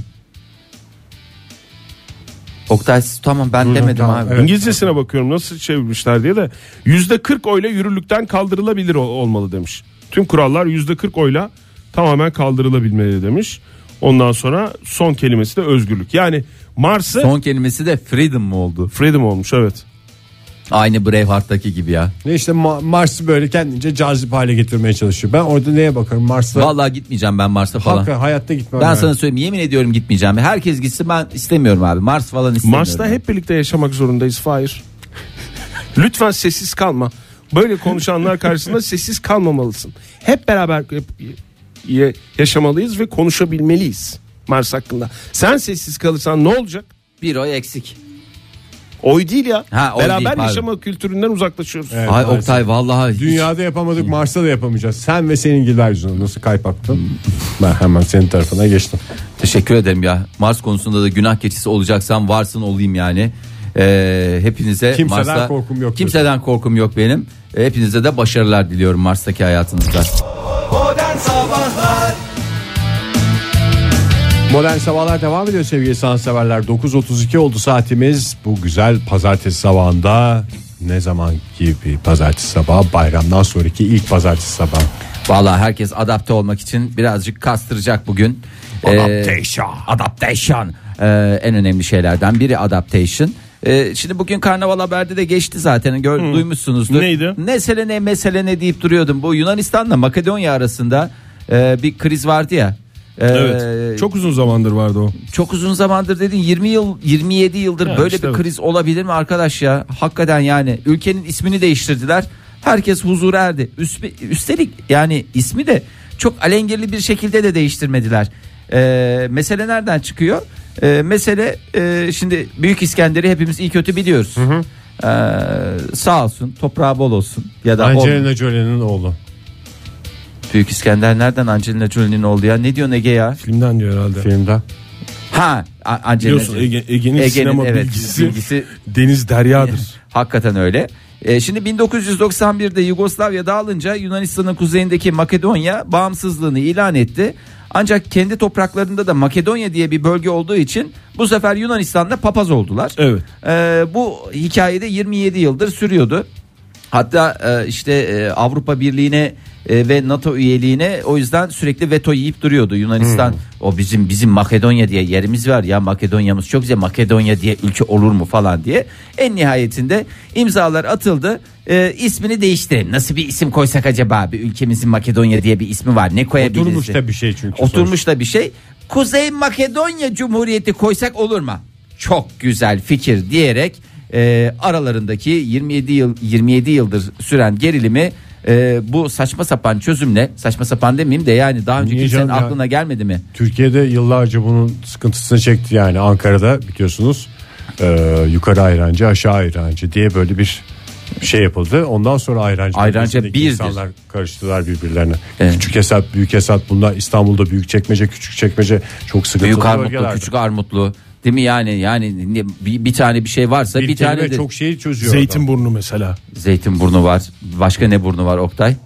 [SPEAKER 3] Oktay tamam ben demedim abi.
[SPEAKER 4] İngilizcesine bakıyorum nasıl çevirmişler diye de yüzde 40 oyla yürürlükten kaldırılabilir ol- olmalı demiş. Tüm kurallar yüzde 40 oyla tamamen kaldırılabilmeli demiş. Ondan sonra son kelimesi de özgürlük. Yani Mars'ı
[SPEAKER 3] Son kelimesi de freedom mu oldu?
[SPEAKER 4] freedom olmuş evet.
[SPEAKER 3] Aynı Braveheart'taki gibi ya.
[SPEAKER 2] Ne işte Ma- Mars'ı böyle kendince cazip hale getirmeye çalışıyor. Ben orada neye bakarım? Mars'ta
[SPEAKER 3] Vallahi gitmeyeceğim ben Mars'a falan.
[SPEAKER 2] Hakkı hayatta gitmem.
[SPEAKER 3] Ben
[SPEAKER 2] yani.
[SPEAKER 3] sana söyleyeyim yemin ediyorum gitmeyeceğim. Herkes gitsin ben istemiyorum abi. Mars falan istemiyorum.
[SPEAKER 4] Mars'ta hep birlikte yaşamak zorundayız Fahir. Lütfen sessiz kalma. Böyle konuşanlar karşısında sessiz kalmamalısın. Hep beraber hep ya- yaşamalıyız ve konuşabilmeliyiz Mars hakkında. Sen sessiz kalırsan ne olacak?
[SPEAKER 3] bir oy eksik.
[SPEAKER 4] Oy değil ya.
[SPEAKER 3] Ha, oy
[SPEAKER 4] Beraber
[SPEAKER 3] değil, pardon.
[SPEAKER 4] yaşama kültüründen uzaklaşıyoruz.
[SPEAKER 2] Evet,
[SPEAKER 3] Ay
[SPEAKER 2] maalesef.
[SPEAKER 3] Oktay vallahi hiç-
[SPEAKER 2] Dünyada yapamadık Mars'ta da yapamayacağız. Sen ve senin gibiler yüzünden nasıl kayıp attın? Ben hemen senin tarafına geçtim.
[SPEAKER 3] Teşekkür ederim ya. Mars konusunda da günah keçisi olacaksam varsın olayım yani. Ee, hepinize
[SPEAKER 2] Kimseden
[SPEAKER 3] Mars'ta
[SPEAKER 2] korkum yok.
[SPEAKER 3] Kimseden korkum yok benim. Ee, Hepinize de başarılar diliyorum Mars'taki hayatınızda.
[SPEAKER 2] Modern Sabahlar devam ediyor sevgili sanatseverler. 9.32 oldu saatimiz. Bu güzel pazartesi sabahında ne zaman ki bir pazartesi sabahı bayramdan sonraki ilk pazartesi sabahı.
[SPEAKER 3] Vallahi herkes adapte olmak için birazcık kastıracak bugün. Adaptation. adaptation. Ee, en önemli şeylerden biri adaptation. Ee, şimdi bugün karnaval haberde de geçti zaten Gör, duymuşsunuzdur.
[SPEAKER 4] Neydi?
[SPEAKER 3] Mesele ne mesele ne deyip duruyordum. Bu Yunanistan'la Makedonya arasında e, bir kriz vardı ya. Ee,
[SPEAKER 4] Çok uzun zamandır vardı o.
[SPEAKER 3] Çok uzun zamandır dedin 20 yıl 27 yıldır
[SPEAKER 4] Yani
[SPEAKER 3] böyle
[SPEAKER 4] işte
[SPEAKER 3] bir
[SPEAKER 4] bu.
[SPEAKER 3] kriz olabilir mi arkadaş ya? Hakikaten yani ülkenin ismini değiştirdiler. Herkes huzura erdi. Üspe- Üstelik yani ismi de çok alengirli bir şekilde de değiştirmediler. Ee, mesele nereden çıkıyor? Ee, mesele e, şimdi Büyük İskender'i hepimiz iyi kötü biliyoruz. Ee, sağ olsun toprağı bol olsun ya da olmasın.
[SPEAKER 2] Angelina Jolie'nin oğlu.
[SPEAKER 3] Büyük İskender nereden Angelina Jolie'nin oldu ya? Ne diyorsun Ege ya?
[SPEAKER 4] Filmden diyor herhalde.
[SPEAKER 2] Filmde.
[SPEAKER 3] Ha A- Angelina
[SPEAKER 4] Biliyorsun
[SPEAKER 3] Jolie.
[SPEAKER 4] Ege, Ege'nin,
[SPEAKER 3] Ege'nin,
[SPEAKER 4] sinema
[SPEAKER 3] evet,
[SPEAKER 4] bilgisi,
[SPEAKER 3] bilgisi
[SPEAKER 4] Deniz Derya'dır.
[SPEAKER 3] Hakikaten öyle. E, şimdi 1991'de Yugoslavya dağılınca Yunanistan'ın kuzeyindeki Makedonya bağımsızlığını ilan etti. Ancak kendi topraklarında da Makedonya diye bir bölge olduğu için bu sefer Yunanistan'da papaz oldular.
[SPEAKER 4] Evet.
[SPEAKER 3] E, bu hikayede 27 yıldır sürüyordu. Hatta e, işte e, Avrupa Birliği'ne e, ve NATO üyeliğine o yüzden sürekli veto yiyip duruyordu Yunanistan. O bizim bizim Makedonya diye yerimiz var ya Makedonya'mız çok güzel Makedonya diye ülke olur mu falan diye. En nihayetinde imzalar atıldı. E, ismini değişti. Nasıl bir isim koysak acaba? Bir ülkemizin Makedonya diye bir ismi var. Ne koyabiliriz?
[SPEAKER 2] Oturmuş da bir şey çünkü. sonuçta.
[SPEAKER 3] Oturmuş da bir şey. Kuzey Makedonya Cumhuriyeti koysak olur mu? Çok güzel fikir diyerek e, aralarındaki 27 yıl 27 yıldır süren gerilimi e, bu saçma sapan çözümle saçma sapan demeyeyim de yani daha önce
[SPEAKER 2] Niye
[SPEAKER 3] kimsenin
[SPEAKER 2] canım ya?
[SPEAKER 3] aklına gelmedi mi?
[SPEAKER 2] Türkiye'de yıllarca bunun sıkıntısını çekti yani Ankara'da biliyorsunuz e, yukarı ayrancı aşağı ayrancı diye böyle bir şey yapıldı. Ondan sonra ayrancı
[SPEAKER 3] Ayrancı
[SPEAKER 2] bölgesindeki
[SPEAKER 3] birdir.
[SPEAKER 2] insanlar karıştılar birbirlerine.
[SPEAKER 3] Evet.
[SPEAKER 2] Küçük hesap, büyük hesap bunlar İstanbul'da büyük çekmece, küçük çekmece çok sıkıntılı
[SPEAKER 3] Büyük armutlu,
[SPEAKER 2] bölgelerdi.
[SPEAKER 3] küçük armutlu. Değil mi yani yani ne- bir, bir tane bir şey varsa bir,
[SPEAKER 2] bir,
[SPEAKER 3] tane
[SPEAKER 2] kelime
[SPEAKER 3] de
[SPEAKER 2] çok şeyi çözüyor. adam.
[SPEAKER 4] Zeytinburnu mesela.
[SPEAKER 3] zeytin burnu var. Başka ne burnu var Oktay?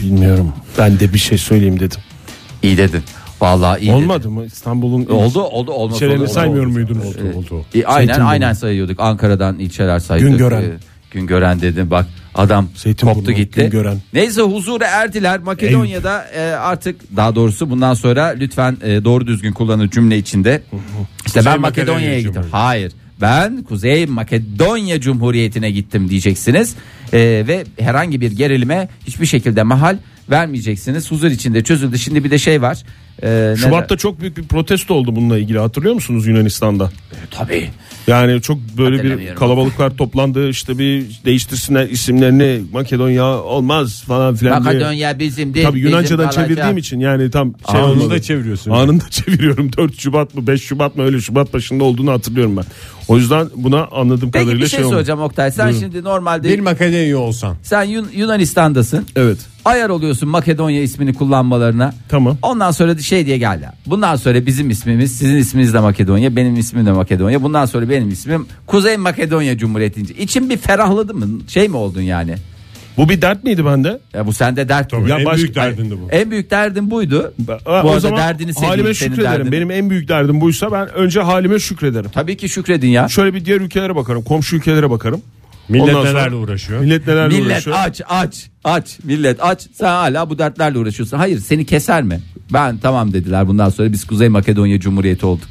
[SPEAKER 4] Bilmiyorum. Ben de bir şey söyleyeyim dedim.
[SPEAKER 3] İyi dedin. Vallahi iyi dedin.
[SPEAKER 4] Olmadı mı? İstanbul'un
[SPEAKER 3] Oldu oldu olmaz.
[SPEAKER 2] şey
[SPEAKER 4] İlçelerini
[SPEAKER 3] oldu, oldu.
[SPEAKER 4] saymıyor muydunuz?
[SPEAKER 2] oldu.
[SPEAKER 3] E, aynen
[SPEAKER 4] Zeytinburnu.
[SPEAKER 3] aynen sayıyorduk. Ankara'dan ilçeler sayıyorduk.
[SPEAKER 4] Güngören.
[SPEAKER 3] E, Güngören dedim bak adam
[SPEAKER 4] Zeytinburnu,
[SPEAKER 3] koptu gitti.
[SPEAKER 4] Güngören.
[SPEAKER 3] Neyse huzura erdiler. Makedonya'da e, artık daha doğrusu bundan sonra lütfen e, doğru düzgün kullanın cümle içinde. İşte
[SPEAKER 2] Kuzey
[SPEAKER 3] ben
[SPEAKER 2] Makedonya
[SPEAKER 3] Makedonya'ya gittim.
[SPEAKER 2] Cumhuriyeti.
[SPEAKER 3] Hayır. Ben Kuzey Makedonya Cumhuriyeti'ne gittim diyeceksiniz. E, ve herhangi bir gerilime hiçbir şekilde mahal vermeyeceksiniz. Huzur içinde çözüldü. Şimdi bir de şey var. E, ne-
[SPEAKER 4] Şubat'ta çok büyük bir protesto oldu bununla ilgili hatırlıyor musunuz Yunanistan'da?
[SPEAKER 3] tabii.
[SPEAKER 4] Yani çok böyle bir
[SPEAKER 3] Hatırlamıyorum.
[SPEAKER 4] kalabalıklar toplandı işte bir değiştirsinler isimlerini Makedonya olmaz falan filan diye.
[SPEAKER 3] Makedonya bizim değil.
[SPEAKER 4] Tabii
[SPEAKER 3] bizim
[SPEAKER 4] Yunanca'dan
[SPEAKER 3] kalacak.
[SPEAKER 4] çevirdiğim için yani tam şey
[SPEAKER 2] Anında
[SPEAKER 4] olmadı.
[SPEAKER 2] çeviriyorsun.
[SPEAKER 4] Anında çeviriyorum 4 Şubat mı 5 Şubat mı öyle Şubat başında olduğunu hatırlıyorum ben. O yüzden buna anladığım
[SPEAKER 3] Peki
[SPEAKER 4] kadarıyla
[SPEAKER 3] bir şey
[SPEAKER 4] olmadı.
[SPEAKER 3] soracağım Oktay. Sen şimdi normalde
[SPEAKER 2] Bir Makedonya olsan.
[SPEAKER 3] sen Yun- Yunanistan'dasın.
[SPEAKER 4] Evet.
[SPEAKER 3] Ayar oluyorsun Makedonya ismini kullanmalarına.
[SPEAKER 4] Tamam.
[SPEAKER 3] Ondan sonra da şey diye geldi. Bundan sonra bizim ismimiz, sizin isminiz de Makedonya, benim ismim de Makedonya. Bundan sonra benim ismim Kuzey Makedonya Cumhuriyeti. İçin bir ferahladı mı? Şey mi oldun yani?
[SPEAKER 4] Bu bir dert miydi bende?
[SPEAKER 3] Ya bu sende dert mi?
[SPEAKER 4] Ya
[SPEAKER 2] en
[SPEAKER 4] başka-
[SPEAKER 2] büyük derdindi bu.
[SPEAKER 3] En büyük derdin buydu.
[SPEAKER 4] Ben-
[SPEAKER 3] bu
[SPEAKER 4] o
[SPEAKER 3] arada
[SPEAKER 4] zaman
[SPEAKER 3] derdini seveyim,
[SPEAKER 4] halime
[SPEAKER 3] senin
[SPEAKER 4] şükrederim.
[SPEAKER 3] derdini-
[SPEAKER 4] Benim en büyük derdim buysa ben önce halime şükrederim.
[SPEAKER 3] Tabii ki şükredin ya.
[SPEAKER 4] Şöyle bir diğer ülkelere bakarım. Komşu ülkelere bakarım.
[SPEAKER 2] Millet
[SPEAKER 4] Ondan sonra-
[SPEAKER 2] nelerle uğraşıyor?
[SPEAKER 4] Millet nelerle
[SPEAKER 3] Millet
[SPEAKER 4] uğraşıyor?
[SPEAKER 3] aç aç aç millet aç sen hala bu dertlerle uğraşıyorsun. Hayır seni keser mi? Ben tamam dediler bundan sonra biz Kuzey Makedonya Cumhuriyeti olduk.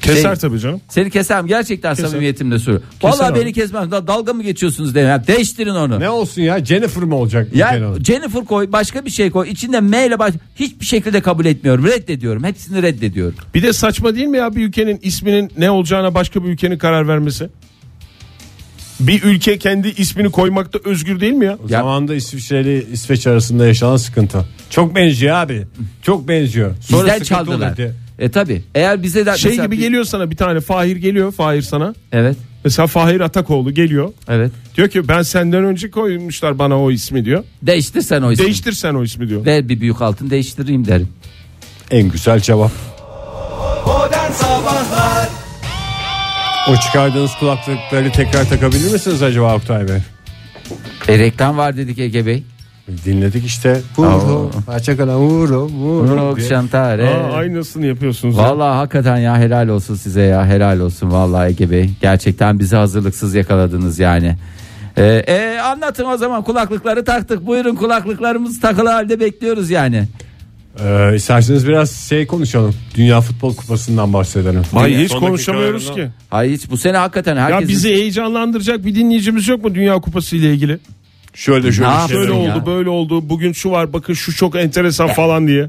[SPEAKER 4] Keser
[SPEAKER 3] Şey-
[SPEAKER 4] tabii canım.
[SPEAKER 3] Seni keserim gerçekten samimiyetimle soruyorum.
[SPEAKER 4] Keser
[SPEAKER 3] Vallahi
[SPEAKER 4] abi.
[SPEAKER 3] beni kesmez. Da- Dalga mı geçiyorsunuz dedim. Ya Değiştirin onu.
[SPEAKER 2] Ne olsun ya Jennifer mı olacak?
[SPEAKER 3] Ya
[SPEAKER 2] Jennifer olacak.
[SPEAKER 3] Jennifer koy başka bir şey koy. İçinde M ile baş hiçbir şekilde kabul etmiyorum. Reddediyorum. Hepsini reddediyorum.
[SPEAKER 4] Bir de saçma değil mi ya bir ülkenin isminin ne olacağına başka bir ülkenin karar vermesi? Bir ülke kendi ismini koymakta özgür değil mi ya?
[SPEAKER 2] O Zamanında İsviçreli İsveç arasında yaşanan sıkıntı. Çok benziyor abi. Çok benziyor. Sonra
[SPEAKER 3] Bizden
[SPEAKER 2] sıkıntı
[SPEAKER 3] çaldılar.
[SPEAKER 2] olur diye.
[SPEAKER 3] E tabi. Eğer bize de
[SPEAKER 4] Şey
[SPEAKER 3] mesela
[SPEAKER 4] gibi
[SPEAKER 3] bir-
[SPEAKER 4] geliyor sana bir tane Fahir geliyor Fahir sana.
[SPEAKER 3] Evet.
[SPEAKER 4] Mesela Fahir Atakoğlu geliyor.
[SPEAKER 3] Evet.
[SPEAKER 4] Diyor ki ben senden önce koymuşlar bana o ismi diyor.
[SPEAKER 3] Değiştir sen o ismi.
[SPEAKER 4] Değiştir sen o ismi diyor.
[SPEAKER 3] Ver bir büyük altın değiştireyim derim.
[SPEAKER 7] En güzel cevap. O çıkardığınız kulaklıkları tekrar takabilir misiniz acaba Oktay Bey?
[SPEAKER 3] E, reklam var dedik Ege Bey.
[SPEAKER 7] Dinledik işte. Vuro, açakala vuro, vuro.
[SPEAKER 3] Rock
[SPEAKER 7] diye.
[SPEAKER 3] Şantare.
[SPEAKER 4] Aa, aynısını yapıyorsunuz. ya.
[SPEAKER 3] Vallahi hakikaten ya helal olsun size ya helal olsun vallahi Ege Bey. Gerçekten bizi hazırlıksız yakaladınız yani. Ee, e, anlatın o zaman kulaklıkları taktık. Buyurun kulaklıklarımız takılı halde bekliyoruz yani.
[SPEAKER 7] Ee, isterseniz biraz şey konuşalım. Dünya Futbol Kupası'ndan bahsedelim.
[SPEAKER 4] Ay, hiç
[SPEAKER 7] Son dakika
[SPEAKER 4] konuşamıyoruz
[SPEAKER 7] ayarında-
[SPEAKER 4] ki.
[SPEAKER 3] Hayır hiç bu sene hakikaten herkes
[SPEAKER 4] Ya bizi heyecanlandıracak bir dinleyicimiz yok mu Dünya Kupası ile ilgili?
[SPEAKER 7] Şöyle şöyle.
[SPEAKER 3] Ne
[SPEAKER 7] şey-
[SPEAKER 3] yapıyorsun
[SPEAKER 4] Şöyle
[SPEAKER 3] ya?
[SPEAKER 4] oldu, böyle oldu. Bugün şu var, bakın şu çok enteresan falan diye.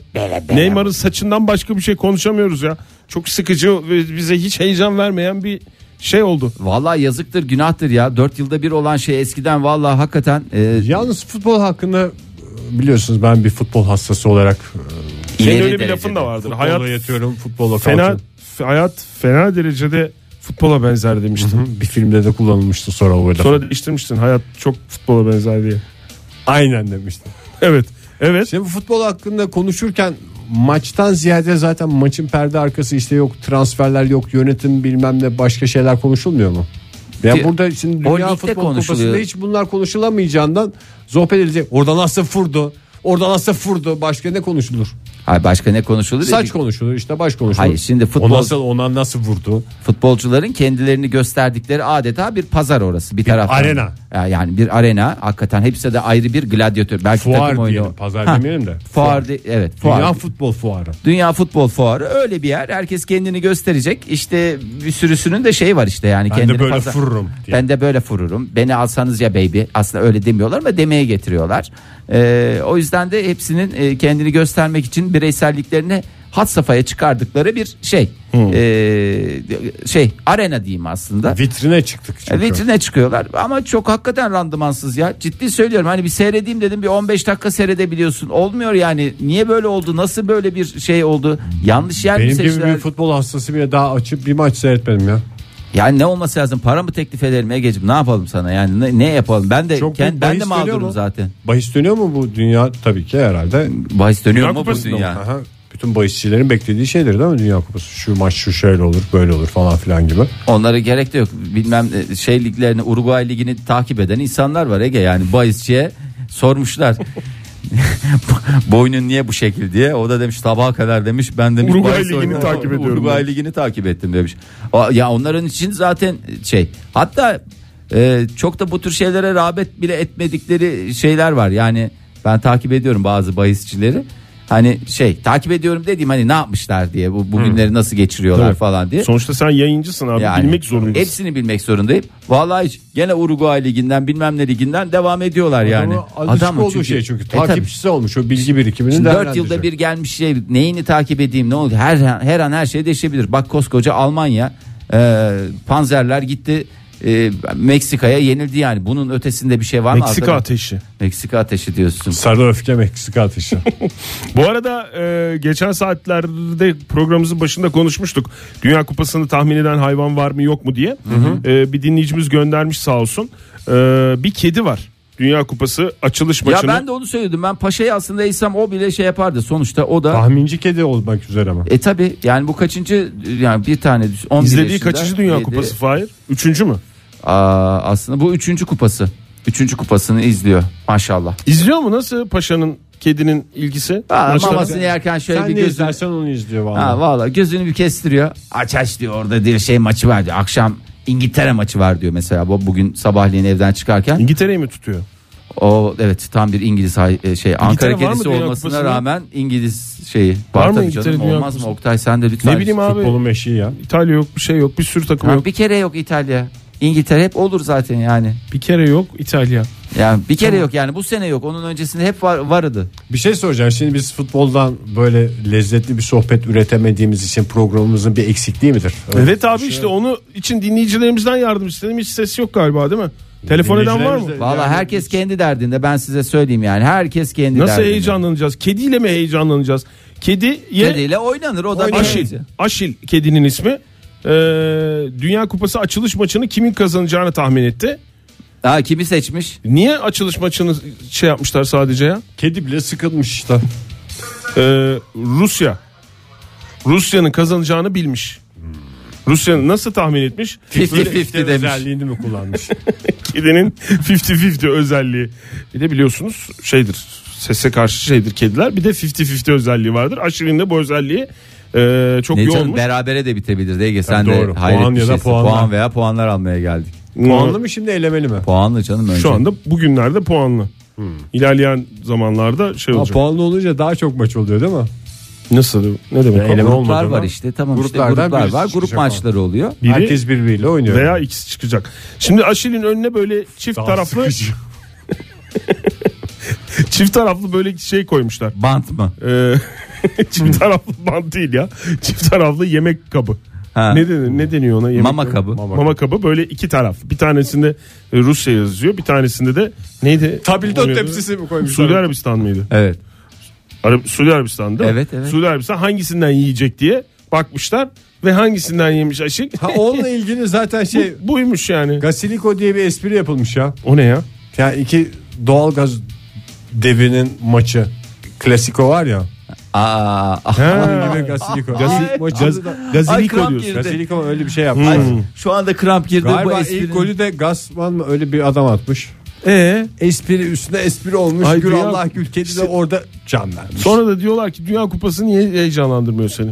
[SPEAKER 4] Neymar'ın saçından başka bir şey konuşamıyoruz ya. Çok sıkıcı ve bize hiç heyecan vermeyen bir şey oldu.
[SPEAKER 3] Vallahi yazıktır günahtır ya. Dört yılda bir olan şey eskiden vallahi hakikaten e,
[SPEAKER 7] Yalnız futbol hakkında e, biliyorsunuz ben bir futbol hassası olarak
[SPEAKER 4] Senin
[SPEAKER 3] ileri
[SPEAKER 4] öyle bir
[SPEAKER 3] derecede.
[SPEAKER 4] lafın da vardır.
[SPEAKER 7] hayat
[SPEAKER 4] Hayat
[SPEAKER 7] yatıyorum futbolla
[SPEAKER 4] fena
[SPEAKER 7] fena
[SPEAKER 4] f- hayat fena derecede futbola benzer demiştin.
[SPEAKER 7] bir filmde de kullanılmıştı sonra o laf.
[SPEAKER 4] Sonra değiştirmiştin. Hayat çok futbola benzer diye.
[SPEAKER 7] Aynen demişti.
[SPEAKER 4] Evet. Evet.
[SPEAKER 7] Şimdi bu futbol hakkında konuşurken maçtan ziyade zaten maçın perde arkası işte yok transferler yok yönetim bilmem ne başka şeyler konuşulmuyor mu? Ya
[SPEAKER 3] Ki-
[SPEAKER 7] burada şimdi
[SPEAKER 3] O
[SPEAKER 7] dünya
[SPEAKER 3] ligde
[SPEAKER 7] futbol
[SPEAKER 3] konuşuluyor.
[SPEAKER 7] kupasında hiç bunlar konuşulamayacağından sohbet edilecek. Oradan nasıl vurdu? Oradan nasıl vurdu? Başka ne konuşulur?
[SPEAKER 3] Hayır başka ne konuşulur?
[SPEAKER 7] Saç konuşulur işte baş konuşulur.
[SPEAKER 3] Hayır, şimdi futbol-
[SPEAKER 7] O nasıl ona nasıl vurdu?
[SPEAKER 3] futbolcuların kendilerini gösterdikleri adeta bir pazar orası bir taraftan.
[SPEAKER 7] arena.
[SPEAKER 3] Ya Yani bir arena hakikaten hepsi de ayrı bir gladyatör. Belki takım
[SPEAKER 7] Fuar
[SPEAKER 3] oyunu.
[SPEAKER 7] diyelim pazar
[SPEAKER 3] Ha,
[SPEAKER 7] demeyelim de.
[SPEAKER 3] Fuar, di- evet fuar.
[SPEAKER 7] Dünya
[SPEAKER 3] Dünya,
[SPEAKER 7] futbol fuarı.
[SPEAKER 3] futbol fuarı öyle bir yer. Herkes kendini gösterecek. İşte bir sürüsünün de şeyi var işte yani
[SPEAKER 7] Ben
[SPEAKER 3] kendini
[SPEAKER 7] de böyle
[SPEAKER 3] pazar-
[SPEAKER 7] fururum diye.
[SPEAKER 3] Ben de böyle fururum. Beni alsanız ya baby. Aslında öyle demiyorlar ama demeye getiriyorlar. Ee, o yüzden de hepsinin e, kendini göstermek için bireyselliklerini hat safhaya çıkardıkları bir şey. Ee, şey arena diyeyim aslında.
[SPEAKER 7] Vitrine çıktık çünkü.
[SPEAKER 3] E, Vitrine çıkıyorlar ama çok hakikaten randımansız ya. Ciddi söylüyorum hani bir seyredeyim dedim bir 15 dakika seyredebiliyorsun. Olmuyor yani. Niye böyle oldu? Nasıl böyle bir şey oldu? Yanlış yer mi
[SPEAKER 7] Benim gibi
[SPEAKER 3] seçtiler?
[SPEAKER 7] bir futbol hastası bile daha açıp bir maç seyretmedim ya.
[SPEAKER 3] Yani ne olması lazım? Para mı teklif edelim Ege'ciğim? Ne yapalım sana? Yani ne, ne yapalım? Ben de
[SPEAKER 7] Çok
[SPEAKER 3] kend-
[SPEAKER 7] bir
[SPEAKER 3] ben de
[SPEAKER 7] bahis dönüyor
[SPEAKER 3] mağdurum
[SPEAKER 7] mu?
[SPEAKER 3] zaten.
[SPEAKER 7] Bahis dönüyor mu bu dünya? Tabii ki herhalde.
[SPEAKER 3] Bahis dönüyor
[SPEAKER 4] Dünya
[SPEAKER 3] mu bu
[SPEAKER 4] Kupası'nda mı?
[SPEAKER 3] dünya?
[SPEAKER 7] Aha, bütün bahisçilerin beklediği şeydir değil mi Dünya Kupası? Şu maç şu şöyle olur böyle olur falan filan gibi.
[SPEAKER 3] Onlara gerek de yok. Bilmem e, şey liglerini Uruguay ligini takip eden insanlar var Ege. Yani bahisçiye sormuşlar. Boynun niye bu şekil diye. O da demiş sabaha kadar demiş. Ben demiş
[SPEAKER 4] Uruguay
[SPEAKER 3] bahis
[SPEAKER 4] ligini
[SPEAKER 3] oynadım.
[SPEAKER 4] takip ediyorum
[SPEAKER 3] Uruguay ligini takip ettim demiş. O- Ya onların için zaten şey. Hatta e, çok da bu tür şeylere rağbet bile etmedikleri şeyler var. Yani ben takip ediyorum bazı bahisçileri. Hani şey takip ediyorum dediğim hani ne yapmışlar diye bu bugünleri nasıl geçiriyorlar
[SPEAKER 4] Tabii.
[SPEAKER 3] falan diye.
[SPEAKER 4] Sonuçta sen yayıncısın abi.
[SPEAKER 3] Yani
[SPEAKER 4] Bilmek zorundasın.
[SPEAKER 3] Hepsini bilmek zorundayım. Vallahi hiç gene Uruguay liginden bilmem ne liginden devam ediyorlar yani.
[SPEAKER 7] Ama alışık
[SPEAKER 3] Adamın
[SPEAKER 7] olduğu şey çünkü.
[SPEAKER 3] E tabii.
[SPEAKER 7] takipçisi olmuş o bilgi birikimini
[SPEAKER 3] Şimdi dört
[SPEAKER 7] değerlendirecek.
[SPEAKER 3] yılda bir gelmiş şey neyini takip edeyim ne oldu her an, her an her şey değişebilir. Bak koskoca Almanya e, panzerler gitti e, Meksika'ya yenildi yani. Bunun ötesinde bir şey var mı?
[SPEAKER 4] Meksika
[SPEAKER 3] Arkadaş-
[SPEAKER 4] ateşi.
[SPEAKER 3] Meksika ateşi diyorsun.
[SPEAKER 7] Sarı öfke Meksika ateşi.
[SPEAKER 4] Bu arada e, geçen saatlerde programımızın başında konuşmuştuk. Dünya Kupası'nı tahmin eden hayvan var mı yok mu diye. E, bir dinleyicimiz göndermiş sağ olsun. E, bir kedi var. Dünya Kupası açılış
[SPEAKER 3] Ya
[SPEAKER 4] maçını.
[SPEAKER 3] ben de onu söyledim. Ben Paşa'yı aslında isem o bile şey yapardı. Sonuçta o
[SPEAKER 4] Ah.
[SPEAKER 3] da
[SPEAKER 7] Tahminci kedi olmak üzere ama.
[SPEAKER 3] E tabi yani bu kaçıncı yani bir tane 11
[SPEAKER 4] İzlediği
[SPEAKER 3] yaşında,
[SPEAKER 4] kaçıncı Dünya
[SPEAKER 3] yedi-
[SPEAKER 4] Kupası Fahir? Üçüncü mü?
[SPEAKER 3] Aa, aslında bu üçüncü kupası. Üçüncü kupasını izliyor maşallah.
[SPEAKER 4] İzliyor mu? Nasıl Paşa'nın kedinin ilgisi?
[SPEAKER 3] Aa,
[SPEAKER 4] Maçlara-
[SPEAKER 3] mamasını yerken şöyle
[SPEAKER 7] Sen
[SPEAKER 3] bir
[SPEAKER 7] ne
[SPEAKER 3] gözünü...
[SPEAKER 7] izlersen onu izliyor valla.
[SPEAKER 3] Ha, valla gözünü bir kestiriyor. Aç aç diyor orada diyor şey maçı var diyor. Akşam İngiltere maçı var diyor mesela. Bu bugün sabahleyin evden çıkarken.
[SPEAKER 4] İngiltere'yi mi tutuyor?
[SPEAKER 3] O evet tam bir İngiliz hay- e, şey Ankara
[SPEAKER 4] var mı
[SPEAKER 3] kedisi
[SPEAKER 4] Dünya
[SPEAKER 3] olmasına
[SPEAKER 4] Kupası'nda?
[SPEAKER 3] rağmen İngiliz şeyi.
[SPEAKER 4] Var mı
[SPEAKER 3] tabii
[SPEAKER 4] İngiltere
[SPEAKER 3] canım,
[SPEAKER 4] Dünya
[SPEAKER 3] Olmaz mı
[SPEAKER 4] Kupası'nda?
[SPEAKER 3] Oktay sen de lütfen.
[SPEAKER 4] Ne bileyim abi.
[SPEAKER 7] Futbolun meşiği ya.
[SPEAKER 4] İtalya yok, bir şey yok, bir sürü takım
[SPEAKER 3] Ha,
[SPEAKER 4] yok.
[SPEAKER 3] bir kere yok İtalya. İngiltere hep olur zaten yani.
[SPEAKER 4] Bir kere yok İtalya.
[SPEAKER 3] Yani bir kere yok yani bu sene yok. Onun öncesinde hep var, vardı.
[SPEAKER 7] Bir şey soracağım. Şimdi biz futboldan böyle lezzetli bir sohbet üretemediğimiz için programımızın bir eksikliği midir?
[SPEAKER 4] Evet abi işte onu için dinleyicilerimizden yardım istedim. Hiç ses yok galiba değil mi? Telefon eden var mı?
[SPEAKER 7] Dinleyicilerimiz de-
[SPEAKER 3] Valla
[SPEAKER 7] Yani
[SPEAKER 3] herkes kendi derdinde ben size söyleyeyim yani herkes kendi
[SPEAKER 4] Nasıl
[SPEAKER 3] derdinde.
[SPEAKER 4] heyecanlanacağız? Kediyle mi heyecanlanacağız? Kediye
[SPEAKER 3] Kediyle oynanır o da
[SPEAKER 4] Aşil.
[SPEAKER 3] bir- şey.
[SPEAKER 4] Aşil kedinin ismi. e, Dünya Kupası açılış maçını kimin kazanacağını tahmin etti.
[SPEAKER 3] Daha kimi seçmiş?
[SPEAKER 4] Niye açılış maçını şey yapmışlar sadece ya?
[SPEAKER 2] Kedi bile sıkılmış işte.
[SPEAKER 4] E, Rusya. Rusya'nın kazanacağını bilmiş. Rusya'nın nasıl tahmin etmiş?
[SPEAKER 3] 50-50 demiş.
[SPEAKER 2] Özelliğini mi kullanmış?
[SPEAKER 4] Kedinin 50-50 özelliği. Bir de biliyorsunuz şeydir sese karşı şeydir kediler. Bir de 50-50 özelliği vardır. Aşırı'nın da bu özelliği e, çok
[SPEAKER 3] Ne
[SPEAKER 4] yoğunmuş.
[SPEAKER 3] canım berabere de bitebilirdi Ege sen de
[SPEAKER 2] doğru.
[SPEAKER 3] hayret
[SPEAKER 2] Puan
[SPEAKER 3] bir
[SPEAKER 2] ya da
[SPEAKER 3] şeysin.
[SPEAKER 2] puanlar.
[SPEAKER 3] Puan veya puanlar almaya geldik.
[SPEAKER 2] Puanlı mı şimdi elemeli mi?
[SPEAKER 3] Puanlı canım önce.
[SPEAKER 4] Şu anda bugünlerde puanlı. İlerleyen zamanlarda şey
[SPEAKER 2] Ha,
[SPEAKER 4] olacak.
[SPEAKER 2] puanlı olunca daha çok maç oluyor değil mi?
[SPEAKER 4] Nasıl? Ne demek?
[SPEAKER 2] eleme
[SPEAKER 4] Puanlı?
[SPEAKER 2] olmadı.
[SPEAKER 3] Gruplar var
[SPEAKER 2] Olmadan
[SPEAKER 3] işte tamam işte
[SPEAKER 2] gruplardan
[SPEAKER 3] gruplar
[SPEAKER 2] birisi
[SPEAKER 3] var grup
[SPEAKER 2] çıkacak ama.
[SPEAKER 3] maçları oluyor.
[SPEAKER 4] Biri
[SPEAKER 2] Herkes birbiriyle oynuyor.
[SPEAKER 4] veya ikisi çıkacak. Şimdi Aşil'in önüne böyle çift
[SPEAKER 2] Daha
[SPEAKER 4] taraflı
[SPEAKER 2] sıkıcı.
[SPEAKER 4] çift taraflı böyle şey koymuşlar.
[SPEAKER 3] Bant mı?
[SPEAKER 4] Ee, çift taraflı bant değil ya. Çift taraflı yemek kabı.
[SPEAKER 3] Ha.
[SPEAKER 4] Ne, deniyor, ne deniyor ona? Yemek
[SPEAKER 3] Mama kabı.
[SPEAKER 4] Mama, kabı böyle iki taraf. Bir tanesinde e, Rusya yazıyor. Bir tanesinde de neydi?
[SPEAKER 2] Tabildot
[SPEAKER 4] Bilmiyorum.
[SPEAKER 2] tepsisi mi koymuşlar?
[SPEAKER 4] Suudi Arabistan mıydı?
[SPEAKER 3] Evet.
[SPEAKER 4] Arab Suudi Arabistan değil mi?
[SPEAKER 3] Evet, evet.
[SPEAKER 4] Suudi Arabistan hangisinden yiyecek diye bakmışlar. Ve hangisinden yemiş aşık?
[SPEAKER 2] Ha, onunla ilgili zaten şey
[SPEAKER 4] Bu- buymuş yani.
[SPEAKER 2] Gasiliko diye bir espri yapılmış ya.
[SPEAKER 4] O ne ya?
[SPEAKER 2] Yani iki doğalgaz devinin maçı. Klasiko var ya.
[SPEAKER 3] Aa, ah.
[SPEAKER 2] Hmm. Onun gibi Gasiliko. Gasi, maçı da,
[SPEAKER 3] Ay,
[SPEAKER 4] Gaziliko
[SPEAKER 3] kramp
[SPEAKER 4] diyorsun.
[SPEAKER 3] girdi.
[SPEAKER 2] Gasiliko öyle bir şey yapmış.
[SPEAKER 3] Ay, şu anda kramp girdi bu
[SPEAKER 2] Galiba
[SPEAKER 3] espri.
[SPEAKER 2] ilk golü de Gasman mı öyle bir adam atmış.
[SPEAKER 3] E,
[SPEAKER 4] Ee,
[SPEAKER 2] Espri üstüne espri olmuş.
[SPEAKER 4] Ay,
[SPEAKER 2] gül
[SPEAKER 4] dünya-
[SPEAKER 2] Allah gül kedi de orada can vermiş.
[SPEAKER 4] sonra da diyorlar ki Dünya Kupası niye heyecanlandırmıyor seni?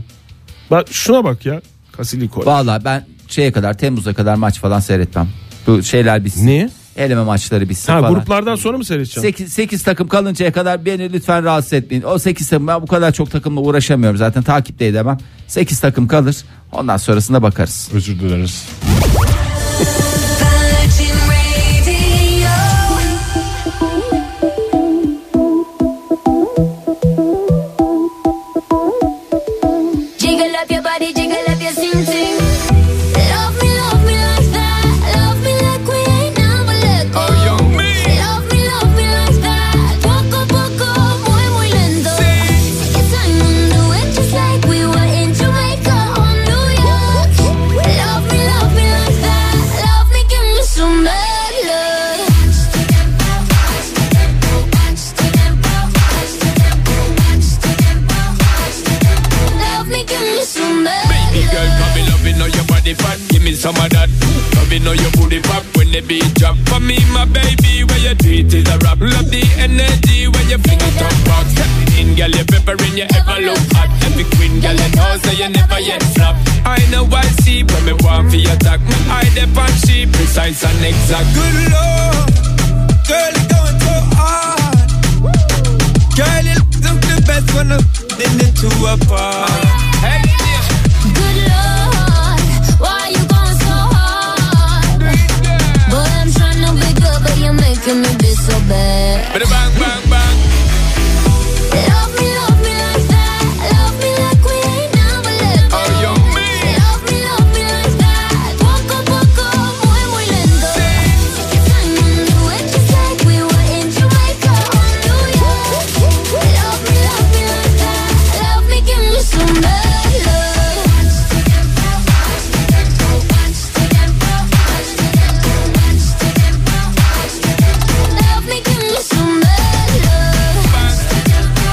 [SPEAKER 4] Bak şuna bak ya. Gasiliko.
[SPEAKER 3] Valla ben şeye kadar Temmuz'a kadar maç falan seyretmem. Bu şeyler bitsin.
[SPEAKER 4] Niye?
[SPEAKER 3] Eleme maçları bitsin
[SPEAKER 4] Ha,
[SPEAKER 3] falan.
[SPEAKER 4] gruplardan sonra mı seyredeceğim?
[SPEAKER 3] 8, takım kalıncaya kadar beni lütfen rahatsız etmeyin. O 8 takım ben bu kadar çok takımla uğraşamıyorum zaten takipte edemem. 8 takım kalır ondan sonrasında bakarız.
[SPEAKER 2] Özür dileriz.
[SPEAKER 7] Virgin Radio. Jiggle up your body, jiggle up your sing-sing. Love me, love me like that. Love me like we ain't never let go. Love me, love me like that. Poco a poco, muy, muy lento. Take your time and do it just like we were in Jamaica or New York. Love me, love me like that. Love me, give me some mad love. Love me, give me some mad
[SPEAKER 8] Baby girl,
[SPEAKER 7] love.
[SPEAKER 8] come me loving know your body fat. Give me some of that. Loving know your booty pop when the beat drop. For me, my baby, where your treat is a rap. Love the energy when your fingers drop rock. Step in, girl, you're peppering, you ever look hot. Every queen, girl, you know, so you never yet flop. I know I see when me want for your talk. Me eye the on she precise and exact. Good lord, girl, you going so hard. Girl, you look the best when I'm in the two apart. Hey, yeah.
[SPEAKER 7] Good Lord, why you going so hard? Boy, I'm trying to be good, but you're making me be so bad.
[SPEAKER 8] Bada bang bang bang.
[SPEAKER 7] Love me, love me like that. Love me like we ain't never let go.
[SPEAKER 8] Oh, yo, me.
[SPEAKER 7] Love me, love me like that. Poco a poco, muy, muy lento. Take your time and do it just like we were in Jamaica or New York. Love me, love me like that. Love me, give me some bad love. Love me, give me some bad love.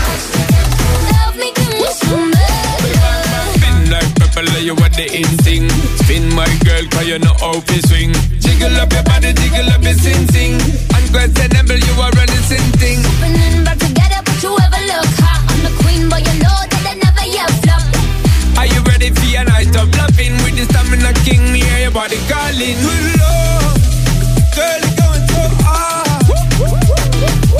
[SPEAKER 7] Love me, give me some bad love.
[SPEAKER 8] Spin like purple, you what the instinct. Spin my girl, cause you know how to swing. Jiggle up your body, jiggle up your sing sing. Unquestionable, you are running sin thing.
[SPEAKER 7] Opening back together, but you ever look hot. I'm the queen, but you know that I never yet flop.
[SPEAKER 8] Are you ready for your night of loving? With the stamina king, me hear your body calling. Good lord, girl, you're going so hard.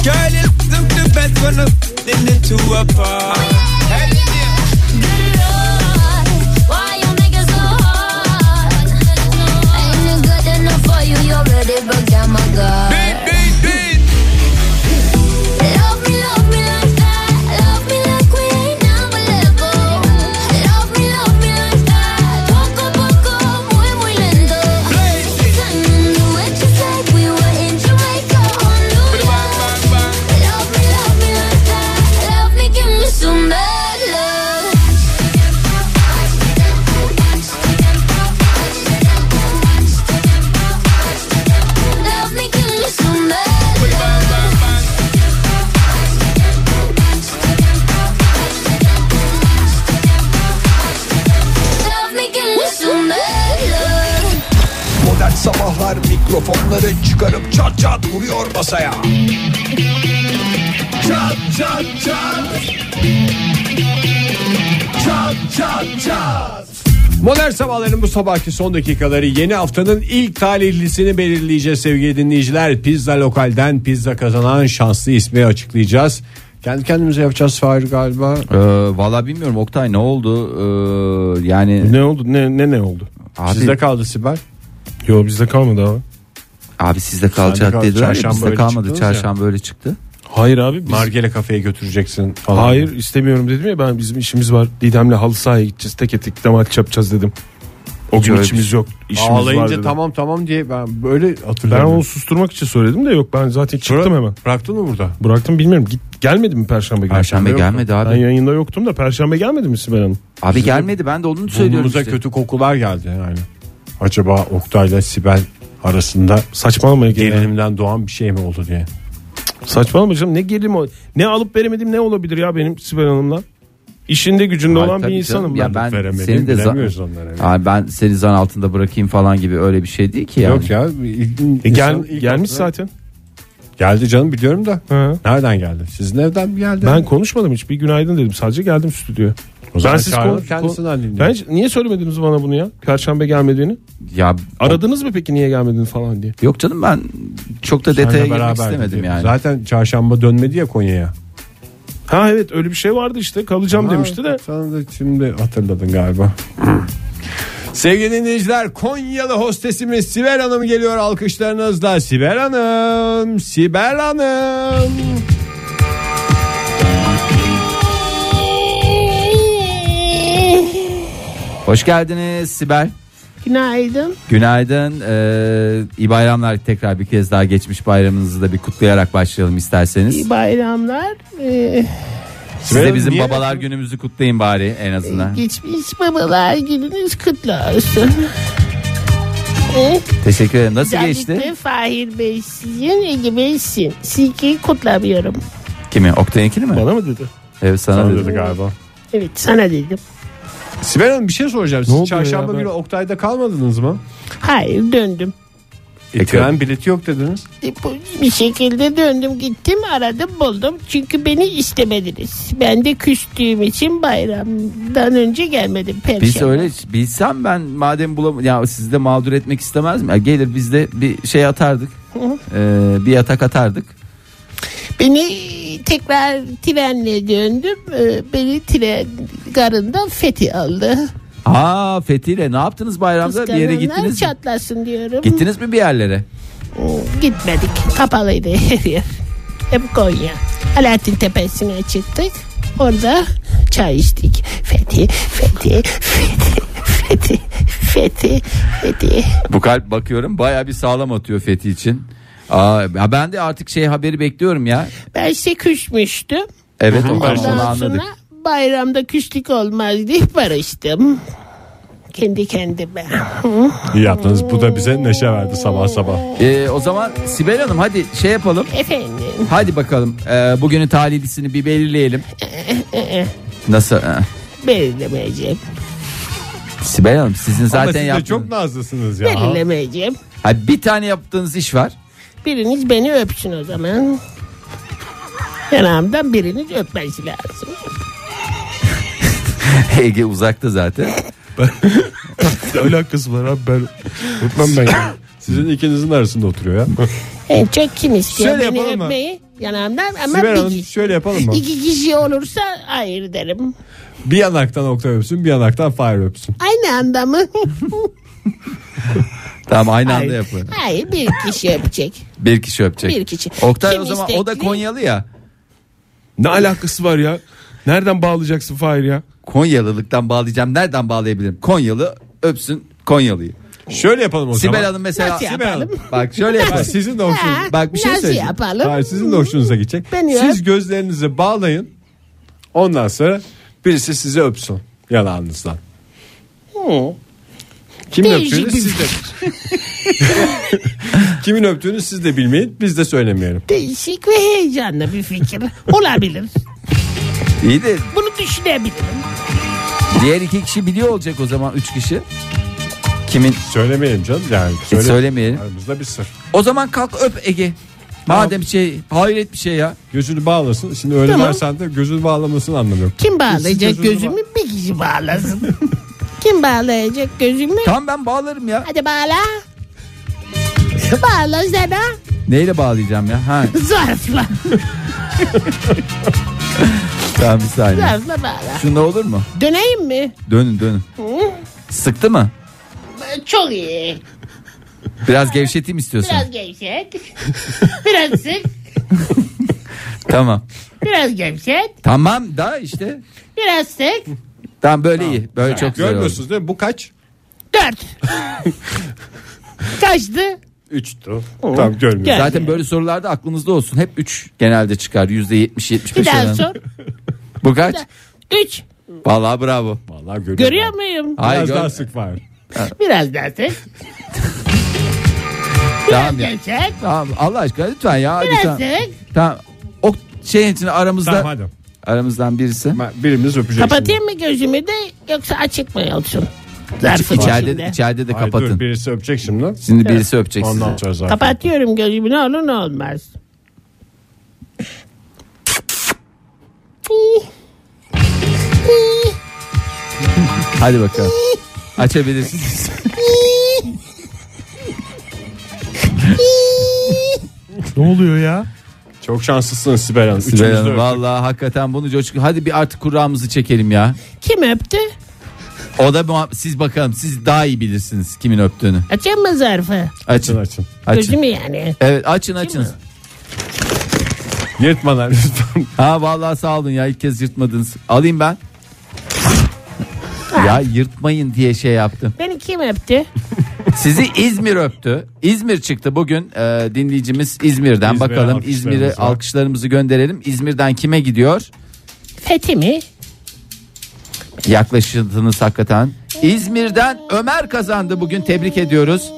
[SPEAKER 8] Girl, you look the best when I'm in the two apart. Hey, yeah.
[SPEAKER 7] Good Lord, why you make it so hard? Ain't it good enough for you? You're ready, but damn my God.
[SPEAKER 8] Beat, beat, beat.
[SPEAKER 7] Love me,
[SPEAKER 9] sabahlar mikrofonları çıkarıp çat çat vuruyor masaya. Çat çat çat. Çat çat çat.
[SPEAKER 2] Modern sabahların bu sabahki son dakikaları yeni haftanın ilk talihlisini belirleyeceğiz sevgili dinleyiciler. Pizza lokalden pizza kazanan şanslı ismi açıklayacağız. Kendi kendimize yapacağız Fahir galiba.
[SPEAKER 3] Ee, Valla bilmiyorum Oktay ne oldu? Ee, yani
[SPEAKER 4] Ne oldu? Ne ne ne oldu?
[SPEAKER 3] abi,
[SPEAKER 2] Sizde kaldı Sibel.
[SPEAKER 4] Yo bizde kalmadı abi.
[SPEAKER 3] abi sizde kalacak
[SPEAKER 2] kaldı.
[SPEAKER 3] dediler. ya,
[SPEAKER 2] Çarşamba
[SPEAKER 3] Bizde
[SPEAKER 2] öyle
[SPEAKER 3] kalmadı.
[SPEAKER 2] çıktınız ya.
[SPEAKER 3] Çarşamba öyle çıktı.
[SPEAKER 4] Hayır abi. Biz...
[SPEAKER 2] Margele kafeye götüreceksin falan.
[SPEAKER 4] Hayır istemiyorum dedim ya ben bizim işimiz var. Didem'le halı sahaya gideceğiz. Teke tek maç yapacağız dedim. O gün
[SPEAKER 3] öyle
[SPEAKER 4] içimiz yok. işimiz var
[SPEAKER 2] Ağlayınca
[SPEAKER 4] dedim.
[SPEAKER 2] tamam tamam diye ben böyle
[SPEAKER 4] Ben
[SPEAKER 2] hatırlıyorum.
[SPEAKER 4] onu susturmak için söyledim de yok ben zaten çıktım hemen.
[SPEAKER 2] Bıraktın mı burada?
[SPEAKER 4] Bıraktım bilmiyorum. Git, gelmedi mi perşembe günü?
[SPEAKER 3] Perşembe
[SPEAKER 2] yoktu.
[SPEAKER 3] gelmedi abi.
[SPEAKER 4] Ben yayında yoktum da perşembe gelmedi mi Sibel Hanım?
[SPEAKER 3] Abi gelmedi ben de onu söylüyorum.
[SPEAKER 2] Burnumuza
[SPEAKER 3] işte.
[SPEAKER 2] kötü kokular geldi yani. Acaba Oktay'la Sibel arasında
[SPEAKER 4] Saçmalamayın. Gerilim.
[SPEAKER 2] gerilimden doğan bir şey mi oldu diye.
[SPEAKER 4] Saçmalama canım ne gerilim o. Ne alıp veremedim ne olabilir ya benim Sibel Hanım'la? İşinde gücünde
[SPEAKER 3] Ay,
[SPEAKER 4] olan bir
[SPEAKER 3] tabii
[SPEAKER 4] insanım
[SPEAKER 3] canım. Ya ben
[SPEAKER 4] ben.
[SPEAKER 2] Veremedim,
[SPEAKER 3] seni de
[SPEAKER 2] bilemiyoruz
[SPEAKER 3] za-
[SPEAKER 2] onları.
[SPEAKER 3] Abi ben seni zan altında bırakayım falan gibi öyle bir şey değil ki yani.
[SPEAKER 2] Yok ya.
[SPEAKER 4] E, gel,
[SPEAKER 2] insan ilk
[SPEAKER 4] gelmiş
[SPEAKER 2] aklına-
[SPEAKER 4] zaten.
[SPEAKER 2] Geldi canım biliyorum da.
[SPEAKER 4] Hı.
[SPEAKER 2] Nereden geldi? Sizin evden mi geldi?
[SPEAKER 4] Ben konuşmadım hiç. Bir günaydın dedim. Sadece geldim stüdyoya.
[SPEAKER 2] O zaman
[SPEAKER 4] ben siz
[SPEAKER 2] çağıralım,
[SPEAKER 4] kon-
[SPEAKER 2] kendisinden
[SPEAKER 4] kon-
[SPEAKER 2] dinleyelim.
[SPEAKER 4] Ben hiç- niye söylemediniz bana bunu ya? Perşembe gelmediğini.
[SPEAKER 3] Ya
[SPEAKER 4] Aradınız mı peki niye gelmedin falan diye?
[SPEAKER 3] yok canım ben çok da
[SPEAKER 2] Seninle
[SPEAKER 3] detaya girmek
[SPEAKER 2] beraberdik
[SPEAKER 3] istemedim
[SPEAKER 2] diye.
[SPEAKER 3] yani.
[SPEAKER 2] Zaten çarşamba dönmedi ya Konya'ya.
[SPEAKER 4] Ha evet öyle bir şey vardı işte. Kalacağım demişti de.
[SPEAKER 2] Sen de şimdi hatırladın galiba. Sevgili dinleyiciler Konyalı hostesimiz Sibel Hanım geliyor alkışlarınızla. Sibel Hanım, Sibel Hanım.
[SPEAKER 3] Hoş geldiniz Sibel.
[SPEAKER 5] Günaydın.
[SPEAKER 3] Günaydın. Ee, iyi bayramlar tekrar bir kez daha geçmiş bayramınızı da bir kutlayarak başlayalım isterseniz.
[SPEAKER 5] İyi bayramlar. Ee,
[SPEAKER 3] Siz de
[SPEAKER 2] Hanım,
[SPEAKER 3] bizim
[SPEAKER 2] niye-
[SPEAKER 3] babalar günümüzü kutlayın bari en
[SPEAKER 5] Ee,
[SPEAKER 3] azından.
[SPEAKER 5] geçmiş babalar gününüz kutlu olsun. Ee,
[SPEAKER 3] Teşekkür ederim. Nasıl geçti?
[SPEAKER 5] Özellikle Fahir Bey sizin Ege Bey sizin. Sizi kutlamıyorum.
[SPEAKER 3] Kimi? Oktay'ınkini mi?
[SPEAKER 4] Bana mı dedi?
[SPEAKER 3] Evet sana, dedim.
[SPEAKER 2] Dedi galiba.
[SPEAKER 5] Evet sana dedim.
[SPEAKER 2] Sibel Hanım bir şey soracağım.
[SPEAKER 4] Ne
[SPEAKER 2] Siz
[SPEAKER 4] oluyor
[SPEAKER 2] çarşamba
[SPEAKER 4] ya ben-
[SPEAKER 2] günü Oktay'da kalmadınız mı?
[SPEAKER 5] Hayır döndüm.
[SPEAKER 2] E, tren bileti yok dediniz.
[SPEAKER 5] E, bu- Bir şekilde döndüm gittim aradım buldum. Çünkü beni istemediniz. Ben de küstüğüm için bayramdan önce gelmedim.
[SPEAKER 3] Biz
[SPEAKER 5] Perşembe.
[SPEAKER 3] öyle bilsem ben madem bulam ya sizi de mağdur etmek istemez mi? Ya gelir biz de bir şey atardık. Ee, bir yatak atardık.
[SPEAKER 5] Beni tekrar trenle döndüm. Ee, Beni tren garında Fethi aldı.
[SPEAKER 3] Aa Fethi ile ne yaptınız bayramda? Bir yere
[SPEAKER 5] Kıskananlar
[SPEAKER 3] gittiniz mi?
[SPEAKER 5] çatlasın diyorum.
[SPEAKER 3] Gittiniz mi bir yerlere?
[SPEAKER 5] Hmm, Gitmedik. Kapalıydı her yer. Hep Konya. Alaaddin Tepesi'ne çıktık. Orada çay içtik. Fethi, Fethi, Fethi, Fethi, Fethi, Fethi.
[SPEAKER 3] Bu kalp bakıyorum baya bir sağlam atıyor Fethi için. Aa, ya ben de artık şey haberi bekliyorum ya.
[SPEAKER 5] Ben size küsmüştüm.
[SPEAKER 3] Evet o
[SPEAKER 5] Ondan
[SPEAKER 3] onu
[SPEAKER 5] sonra
[SPEAKER 3] anladık.
[SPEAKER 5] bayramda küslük olmaz diye barıştım. Kendi kendime.
[SPEAKER 2] İyi yaptınız. Bu da bize neşe verdi sabah sabah.
[SPEAKER 3] Ee, o zaman Sibel Hanım hadi şey yapalım.
[SPEAKER 5] Efendim.
[SPEAKER 3] Hadi bakalım ee, bugünün talihlisini bir belirleyelim. Nasıl? ee?
[SPEAKER 5] Belirlemeyeceğim.
[SPEAKER 3] Sibel Hanım sizin
[SPEAKER 2] Ama
[SPEAKER 3] zaten
[SPEAKER 2] siz de
[SPEAKER 3] yaptığınız...
[SPEAKER 2] çok nazlısınız ya.
[SPEAKER 5] Belirlemeyeceğim.
[SPEAKER 3] Ha, bir tane yaptığınız iş var.
[SPEAKER 5] Biriniz beni öpsün o zaman. Yanağımdan biriniz öpmesi lazım.
[SPEAKER 3] Ege uzakta zaten.
[SPEAKER 4] Ne alakası var abi ben. Öpmem ben ya.
[SPEAKER 2] Sizin ikinizin arasında oturuyor ya.
[SPEAKER 5] En çok kim istiyor
[SPEAKER 2] Şöyle
[SPEAKER 5] beni
[SPEAKER 2] yapalım mı?
[SPEAKER 5] öpmeyi? Yanağımdan ama
[SPEAKER 2] Sibel
[SPEAKER 5] bir
[SPEAKER 2] Hanım
[SPEAKER 5] kişi.
[SPEAKER 2] şöyle yapalım mı?
[SPEAKER 5] İki kişi olursa hayır derim.
[SPEAKER 2] Bir yanaktan Oktay öpsün bir yanaktan Fahir öpsün.
[SPEAKER 5] Aynı anda mı?
[SPEAKER 3] Tamam aynı anda
[SPEAKER 5] hayır.
[SPEAKER 3] yapın.
[SPEAKER 5] hayır bir kişi öpecek.
[SPEAKER 3] Bir kişi öpecek.
[SPEAKER 5] Bir kişi.
[SPEAKER 3] Oktay
[SPEAKER 5] Kim
[SPEAKER 3] o zaman o da
[SPEAKER 5] istekli?
[SPEAKER 3] Konyalı ya.
[SPEAKER 4] ne alakası var ya? Nereden bağlayacaksın Fahir ya?
[SPEAKER 3] Konyalılıktan bağlayacağım. Nereden bağlayabilirim? Konyalı öpsün Konyalı'yı.
[SPEAKER 2] Şöyle yapalım o
[SPEAKER 3] Sibel
[SPEAKER 2] zaman.
[SPEAKER 3] Hanım mesela
[SPEAKER 5] Nasıl
[SPEAKER 3] Sibel
[SPEAKER 5] yapalım?
[SPEAKER 3] Hanım. Bak şöyle
[SPEAKER 2] Ha,
[SPEAKER 3] yapalım.
[SPEAKER 2] sizin de hoşunuza.
[SPEAKER 5] Ha,
[SPEAKER 3] Bak bir şey
[SPEAKER 5] nasıl
[SPEAKER 3] söyleyeceğim.
[SPEAKER 5] yapalım?
[SPEAKER 2] Hayır, sizin de hoşunuza gidecek.
[SPEAKER 5] Beni
[SPEAKER 2] Siz
[SPEAKER 5] öp.
[SPEAKER 2] gözlerinizi bağlayın. Ondan sonra birisi sizi öpsün yanağınızdan. Kim
[SPEAKER 5] Değişik
[SPEAKER 2] öptüğünü
[SPEAKER 5] bir
[SPEAKER 2] siz de Kimin öptüğünü siz de bilmeyin, biz de söylemeyelim.
[SPEAKER 5] Değişik ve heyecanlı bir fikir. Olabilir.
[SPEAKER 3] İyi de
[SPEAKER 5] Bunu düşünebilirim.
[SPEAKER 3] diğer iki kişi biliyor olacak o zaman üç kişi. Kimin?
[SPEAKER 2] Söylemeyelim canım yani. Söyle,
[SPEAKER 3] söylemeyelim.
[SPEAKER 2] Aramızda bir sır.
[SPEAKER 3] O zaman kalk öp Ege. Madem şey hayret bir şey ya.
[SPEAKER 2] Gözünü bağlasın. Şimdi öyle
[SPEAKER 5] Tamam.
[SPEAKER 2] dersen de gözünü bağlamasının anlamı yok.
[SPEAKER 5] Kim bağlayacak
[SPEAKER 2] Gözünü
[SPEAKER 5] gözümü? Bir kişi bağlasın. Kim bağlayacak gözümü?
[SPEAKER 3] Tamam ben bağlarım ya.
[SPEAKER 5] Hadi bağla. bağla sana.
[SPEAKER 3] Neyle bağlayacağım ya? Ha
[SPEAKER 5] Zarfla.
[SPEAKER 3] tamam bir saniye.
[SPEAKER 5] Zarfla bağla.
[SPEAKER 3] Şunda olur mu?
[SPEAKER 5] Döneyim mi?
[SPEAKER 3] Dönün dönün. Sıktı mı?
[SPEAKER 5] Çok iyi.
[SPEAKER 3] Biraz gevşeteyim istiyorsun.
[SPEAKER 5] Biraz gevşet. biraz sık.
[SPEAKER 3] Tamam.
[SPEAKER 5] Biraz gevşet.
[SPEAKER 3] Tamam da işte.
[SPEAKER 5] Biraz sık.
[SPEAKER 3] Tamam böyle iyi. Böyle çok güzel oldu.
[SPEAKER 2] Görmüyorsunuz değil mi? Bu kaç?
[SPEAKER 5] Dört. Kaçtı?
[SPEAKER 2] Üçtü. Tamam görmüyor.
[SPEAKER 5] Gel.
[SPEAKER 3] Zaten böyle sorularda aklınızda olsun. Hep 3 genelde çıkar. %70-75
[SPEAKER 5] Bir daha
[SPEAKER 3] oranı.
[SPEAKER 5] sor.
[SPEAKER 3] Bu kaç?
[SPEAKER 5] Üç.
[SPEAKER 3] Vallahi bravo.
[SPEAKER 2] Vallahi görüyorum.
[SPEAKER 5] Görüyor muyum?
[SPEAKER 2] Biraz
[SPEAKER 3] Hayır, gör-
[SPEAKER 2] daha sık var.
[SPEAKER 5] Biraz daha sık.
[SPEAKER 3] Tamam ya.
[SPEAKER 5] Gevşet.
[SPEAKER 3] Tamam Allah aşkına lütfen ya.
[SPEAKER 5] Biraz
[SPEAKER 3] Lütfen.
[SPEAKER 5] sık.
[SPEAKER 3] Tamam. O şeyin için aramızda
[SPEAKER 2] Tamam hadi.
[SPEAKER 3] aramızdan birisi.
[SPEAKER 2] Ben- Birimiz öpecek.
[SPEAKER 5] Kapatayım mı gözümü de yoksa açık mı olsun? Zarfın
[SPEAKER 3] içeride
[SPEAKER 5] içinde.
[SPEAKER 3] içeride de
[SPEAKER 2] şimdi. Hayır,
[SPEAKER 3] kapatın.
[SPEAKER 2] dur, birisi öpecek şimdi.
[SPEAKER 3] Şimdi birisi öpecek sizi.
[SPEAKER 2] Ondan sonra zaten.
[SPEAKER 5] Kapatıyorum gözümü ne olur ne olmaz.
[SPEAKER 3] Hadi bakalım. Açabilirsiniz.
[SPEAKER 10] Ne oluyor ya?
[SPEAKER 2] Çok şanslısınız Sibel Hanım. Üçünüz de
[SPEAKER 3] Sibel Hanım,
[SPEAKER 2] öptük.
[SPEAKER 3] Vallahi hakikaten bunu coşku. Hadi bir artık kurramızı çekelim ya.
[SPEAKER 5] Kim öptü?
[SPEAKER 3] O da muha- siz bakalım siz daha iyi bilirsiniz kimin öptüğünü.
[SPEAKER 5] Açayım mı zarfı?
[SPEAKER 2] Açın
[SPEAKER 3] Açın.
[SPEAKER 2] açın.
[SPEAKER 3] Açın.
[SPEAKER 5] Gözümü yani.
[SPEAKER 3] Evet açın açın.
[SPEAKER 2] Yırtmadan lütfen.
[SPEAKER 3] Ha vallahi sağ olun ya ilk kez yırtmadınız. Alayım ben. ya yırtmayın diye şey yaptım.
[SPEAKER 5] Beni kim öptü?
[SPEAKER 3] Sizi İzmir öptü. İzmir çıktı bugün e, dinleyicimiz İzmir'den.
[SPEAKER 2] İzmir'e
[SPEAKER 3] Bakalım
[SPEAKER 2] alkışlarımız
[SPEAKER 3] İzmir'e
[SPEAKER 2] var.
[SPEAKER 3] alkışlarımızı gönderelim. İzmir'den kime gidiyor?
[SPEAKER 5] Fethi mi?
[SPEAKER 3] Yaklaşıldınız hakikaten. İzmir'den Ömer kazandı bugün tebrik ediyoruz.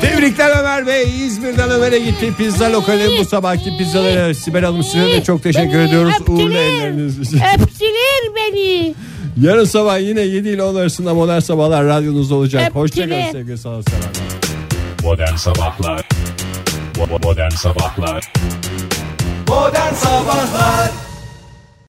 [SPEAKER 2] Tebrikler Ömer Bey. İzmir'den Ömer'e gitti. Pizza lokali bu sabahki pizzalara Sibel Hanım size de çok teşekkür
[SPEAKER 5] Beni
[SPEAKER 2] ediyoruz.
[SPEAKER 5] öptüler.
[SPEAKER 2] Uğurlu elleriniz için.
[SPEAKER 5] Öptüler beni.
[SPEAKER 2] Yarın sabah yine 7 ile 10 arasında Modern Sabahlar radyonuzda olacak.
[SPEAKER 5] Öptüm.
[SPEAKER 2] Hoşçakalın sevgili sanatseverler.
[SPEAKER 7] Modern Sabahlar Modern Sabahlar
[SPEAKER 9] Modern Sabahlar